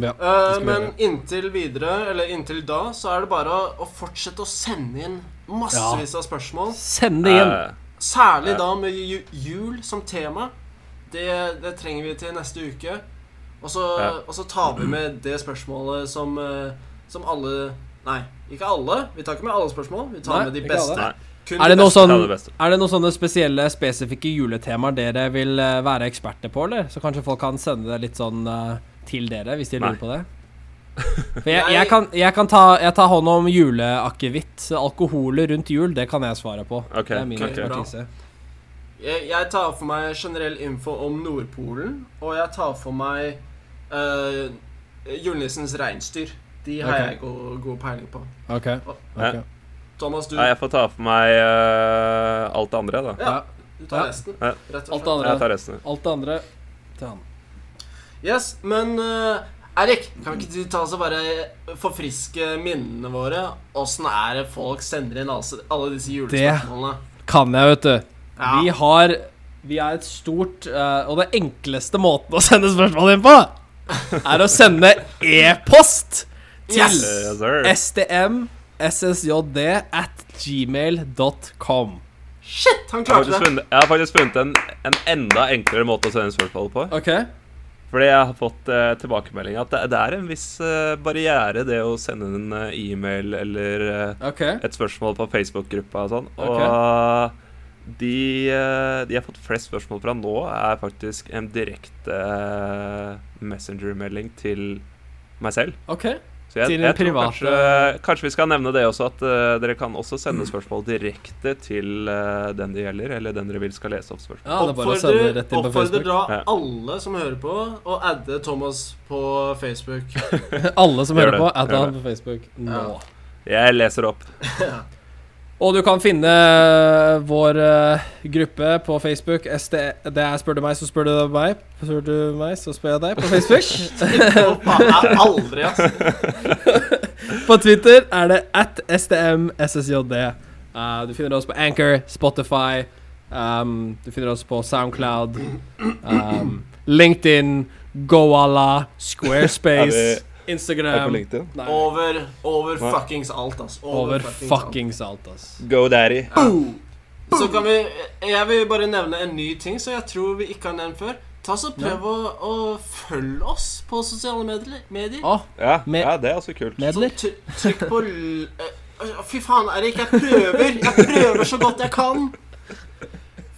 Speaker 3: Ja,
Speaker 1: Eh,
Speaker 3: skal vi
Speaker 1: men inntil videre, eller inntil da, så er det bare å fortsette å sende inn massevis av spørsmål.
Speaker 3: Send det inn!
Speaker 2: Eh,
Speaker 1: Særlig
Speaker 2: Ja.
Speaker 1: da med ju- jul som tema. Det, det trenger vi til neste uke. Og så,
Speaker 2: Ja.
Speaker 1: og så tar vi med det spørsmålet som, eh, som alle Nei, ikke alle. Vi tar ikke med alle spørsmål. Vi tar
Speaker 3: Nei,
Speaker 1: med de
Speaker 3: ikke
Speaker 1: beste.
Speaker 2: alle.
Speaker 1: Kun
Speaker 3: Er
Speaker 1: de
Speaker 3: det, noe
Speaker 1: beste.
Speaker 3: sånn,
Speaker 2: Ja, det beste.
Speaker 3: er det noen sånne spesielle, spesifikke juletemaer dere vil eh, være eksperter på, eller? Så kanskje folk kan sende det litt sånn eh, til dere, hvis de
Speaker 2: Nei.
Speaker 3: lurer på det? For jeg,
Speaker 1: Jeg-
Speaker 3: jeg, kan, jeg kan ta jeg tar hånd om juleakevitt. Alkoholet rundt jul, det kan jeg svare på.
Speaker 2: Ok,
Speaker 3: det er min
Speaker 1: ok.
Speaker 3: ekspertise.
Speaker 1: Jeg, jeg tar for meg generell info om Nordpolen, og jeg tar for meg eh, julenissens reinsdyr. De har
Speaker 3: Ok.
Speaker 1: jeg god, god peiling på.
Speaker 3: Ok.
Speaker 2: Ja.
Speaker 3: ok.
Speaker 1: Thomas, du,
Speaker 2: Nei, jeg får ta for meg eh, alt det andre, da.
Speaker 1: Ja.
Speaker 3: Ja.
Speaker 1: du tar
Speaker 3: ja.
Speaker 1: resten.
Speaker 2: Ja.
Speaker 1: Rett og
Speaker 3: Alt det
Speaker 1: slett.
Speaker 3: andre.
Speaker 2: Jeg tar resten.
Speaker 3: Alt det andre til han.
Speaker 1: Yes, men eh, Erik, kan ikke du ta oss og bare forfriske minnene våre? Åssen er det folk sender inn altså, alle disse julespørsmålene?
Speaker 3: Kan jeg, vet du.
Speaker 1: Ja.
Speaker 3: Vi har Vi er et stort eh, Og det enkleste måten å sende spørsmål inn på, er å sende e-post til
Speaker 1: Yes!
Speaker 2: Eh, sir.
Speaker 3: stm ssjd at gmail.com.
Speaker 1: Shit, han
Speaker 2: Jeg har
Speaker 1: klarte
Speaker 2: faktisk
Speaker 1: det!
Speaker 2: funnet, jeg har faktisk funnet en, en enda enklere måte å sende spørsmål på.
Speaker 3: OK?
Speaker 2: Fordi jeg har fått eh, tilbakemelding at det, det er en viss eh, barriere, det å sende en eh, e-mail eller eh,
Speaker 3: ok
Speaker 2: et spørsmål på Facebook-gruppa og sånn. Og de, eh, de jeg har fått flest spørsmål fra nå, er faktisk en direkte eh, messenger-melding til meg selv.
Speaker 3: ok
Speaker 2: Så jeg,
Speaker 3: Til
Speaker 2: jeg tror
Speaker 3: private-
Speaker 2: kanskje, kanskje vi skal nevne det også, at eh, dere kan også sende
Speaker 3: Mm.
Speaker 2: spørsmål direkte til eh, den det gjelder, eller den dere vil skal lese opp spørsmål.
Speaker 3: Ja, det er bare å sende
Speaker 1: Oppfordrer
Speaker 3: rett inn på
Speaker 1: oppfordrer
Speaker 3: Facebook.
Speaker 1: da
Speaker 2: Ja.
Speaker 1: alle som hører på, å adde Thomas på Facebook.
Speaker 3: Alle som
Speaker 2: Gjør
Speaker 3: hører
Speaker 2: det,
Speaker 3: på, add
Speaker 2: gjør
Speaker 3: han på Facebook nå.
Speaker 1: Ja.
Speaker 2: Jeg leser opp.
Speaker 3: Og du kan finne vår eh, gruppe på Facebook. SD, det er Spør du meg, så spør du meg. Spør du meg, så spør jeg deg på Facebook.
Speaker 1: Faen, jeg er aldri, ass.
Speaker 3: På Twitter er det at stmssjd. Eh, du finner oss på Anchor, Spotify, ehm, du finner oss på Soundcloud, ehm, LinkedIn, Goala, Squarespace,
Speaker 2: Er
Speaker 3: Instagram
Speaker 2: LinkedIn.
Speaker 3: Nei,
Speaker 1: Over, over
Speaker 2: Hva?
Speaker 1: fuckings alt, ass.
Speaker 3: Over
Speaker 1: fuckings alt.
Speaker 3: fuckings alt, ass.
Speaker 2: Go daddy.
Speaker 1: Så kan vi Jeg vil bare nevne en ny ting som jeg tror vi ikke har nevnt før. Ta så Prøv å, å følge oss på sosiale medier. medier.
Speaker 3: Å,
Speaker 2: Ja,
Speaker 3: Med-
Speaker 2: ja, det er også kult.
Speaker 3: medler.
Speaker 1: Try- Trykk på l... eh, Fy faen, Erik. Jeg prøver. Jeg prøver så godt jeg kan.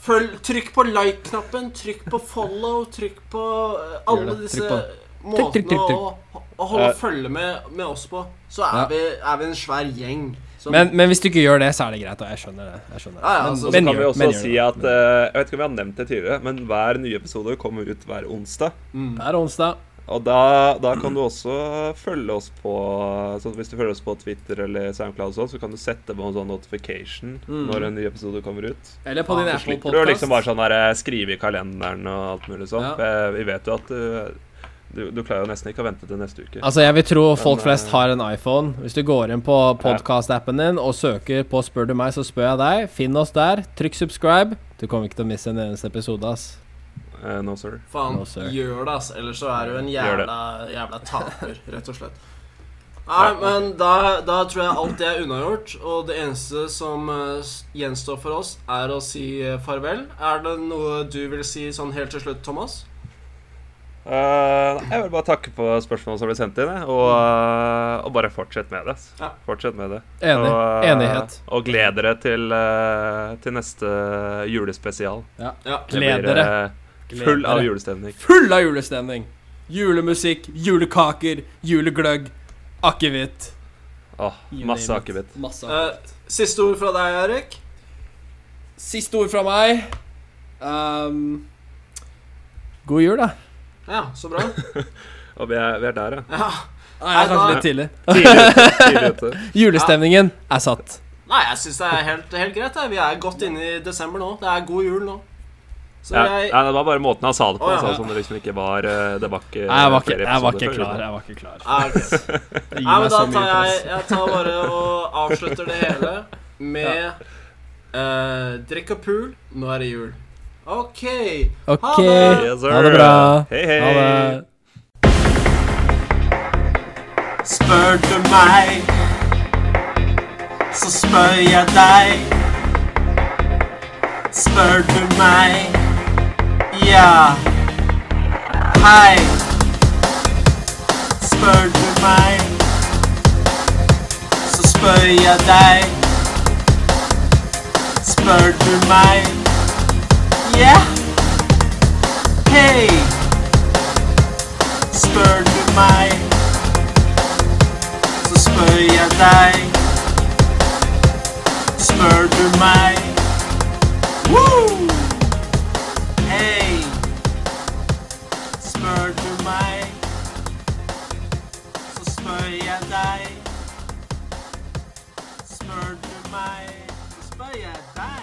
Speaker 1: Følg, trykk på like-knappen. Trykk på follow. Trykk på eh,
Speaker 3: Gjør
Speaker 1: alle
Speaker 3: det.
Speaker 1: disse
Speaker 3: Trykk på- Trykk, trykk,
Speaker 1: måtene
Speaker 3: trykk,
Speaker 1: å, å holde
Speaker 2: Ja.
Speaker 1: følge med, med oss på. Så er,
Speaker 3: Ja.
Speaker 1: vi, er vi en svær gjeng. som-
Speaker 3: Men, men hvis du ikke gjør det, så er det greit. Og jeg skjønner det. Jeg skjønner det.
Speaker 1: Ja, ja,
Speaker 3: Men-
Speaker 1: altså,
Speaker 2: Og så
Speaker 3: men
Speaker 2: kan
Speaker 3: gjør
Speaker 2: vi
Speaker 3: det, men
Speaker 2: også
Speaker 3: gjør
Speaker 2: si
Speaker 3: det,
Speaker 2: at
Speaker 3: men gjør det.
Speaker 2: eh, Jeg vet ikke om vi har nevnt det tidligere, men hver nye episode kommer ut hver onsdag.
Speaker 1: Mm.
Speaker 3: Det er onsdag.
Speaker 2: Og da, da kan du også følge oss på så Hvis du følger oss på Twitter eller SoundCloud, og sånn, så kan du sette på en sånn notification
Speaker 3: Mm.
Speaker 2: når en ny episode kommer ut.
Speaker 3: Eller på din
Speaker 2: Så
Speaker 3: Apple
Speaker 2: slipper du å
Speaker 3: Podcast.
Speaker 2: liksom bare sånn der, skrive i kalenderen og alt mulig sånn.
Speaker 3: Ja.
Speaker 2: Eh, Vi vet jo at du, du, du klarer jo nesten ikke å vente til neste uke.
Speaker 3: Altså, jeg vil tro folk
Speaker 2: Men,
Speaker 3: flest
Speaker 2: eh,
Speaker 3: har en iPhone. Hvis du går inn på podkast-appen din og søker på 'Spør du meg, så spør jeg deg', finn oss der. Trykk 'subscribe'. Du kommer ikke til å miste en eneste episode, ass.
Speaker 2: Eh, no, sir.
Speaker 1: Faen,
Speaker 3: No, sir.
Speaker 1: gjør det, ass. Ellers så er du en
Speaker 2: Gjør det.
Speaker 1: jævla, jævla taper, rett og slett. Nei, men da, da tror jeg alt det er unnagjort. Og det eneste som eh, s- gjenstår for oss, er å si eh, farvel. Er det noe du vil si sånn helt til slutt, Thomas?
Speaker 2: Eh, nei, jeg vil bare takke for spørsmålene som ble sendt inn, jeg, og, eh, og bare fortsett med det. ass.
Speaker 1: Ja.
Speaker 2: Fortsett med det.
Speaker 3: Enig.
Speaker 2: Og, eh,
Speaker 3: Enighet.
Speaker 2: Og gled dere til, eh, til neste julespesial.
Speaker 1: Ja.
Speaker 2: Det
Speaker 3: Gled
Speaker 2: blir,
Speaker 3: dere.
Speaker 2: eh, Full av
Speaker 3: Gled dere.
Speaker 2: julestemning.
Speaker 3: Full av julestemning. Julemusikk, julekaker, julegløgg, akevitt.
Speaker 2: Åh,
Speaker 3: You
Speaker 2: masse
Speaker 3: name it.
Speaker 2: akevitt.
Speaker 4: Masse.
Speaker 1: Eh, siste ord fra deg, Erik.
Speaker 4: Siste ord fra meg. Ehm,
Speaker 3: God jul, da.
Speaker 1: Ja, så bra.
Speaker 2: Og vi er, vi er der, ja.
Speaker 1: Ja.
Speaker 3: Nei, det er kanskje
Speaker 1: da-
Speaker 3: litt tidlig.
Speaker 2: Tidlig ute. Tidlig ute.
Speaker 3: Julestemningen er satt.
Speaker 1: Nei, jeg syns det er helt, helt greit. jeg. Vi er godt inne i desember nå. Det er god jul nå. Så
Speaker 2: Ja,
Speaker 1: jeg
Speaker 2: nei, det var bare måten han sa det på.
Speaker 1: Å, ja.
Speaker 2: Han sa det som det liksom ikke var eh, Det var ikke,
Speaker 3: Nei, jeg var ikke,
Speaker 2: flere
Speaker 3: jeg var ikke
Speaker 2: episoder før,
Speaker 3: klar.
Speaker 2: liksom.
Speaker 3: Jeg var ikke klar.
Speaker 1: Ja, ok.
Speaker 3: Det
Speaker 1: Nei, men
Speaker 3: gir meg
Speaker 1: da
Speaker 3: så mye
Speaker 1: tar jeg,
Speaker 3: press.
Speaker 1: jeg tar bare og avslutter det hele med eh, Drikk og pool, nå er det jul. OK.
Speaker 3: OK.
Speaker 1: det.
Speaker 2: liksom. Yes, sir.
Speaker 3: Ha det bra.
Speaker 2: Hei, hei.
Speaker 3: Ha det.
Speaker 1: Spør du meg, så spør jeg deg. Spør du meg, ja. Hei. Spør du meg, så spør jeg deg. Spør du meg, ja. Hei. Spør du meg så spør jeg deg. Spør du meg? Woo! Hei! Spør du meg, så spør jeg deg. Spør du meg, så spør jeg deg.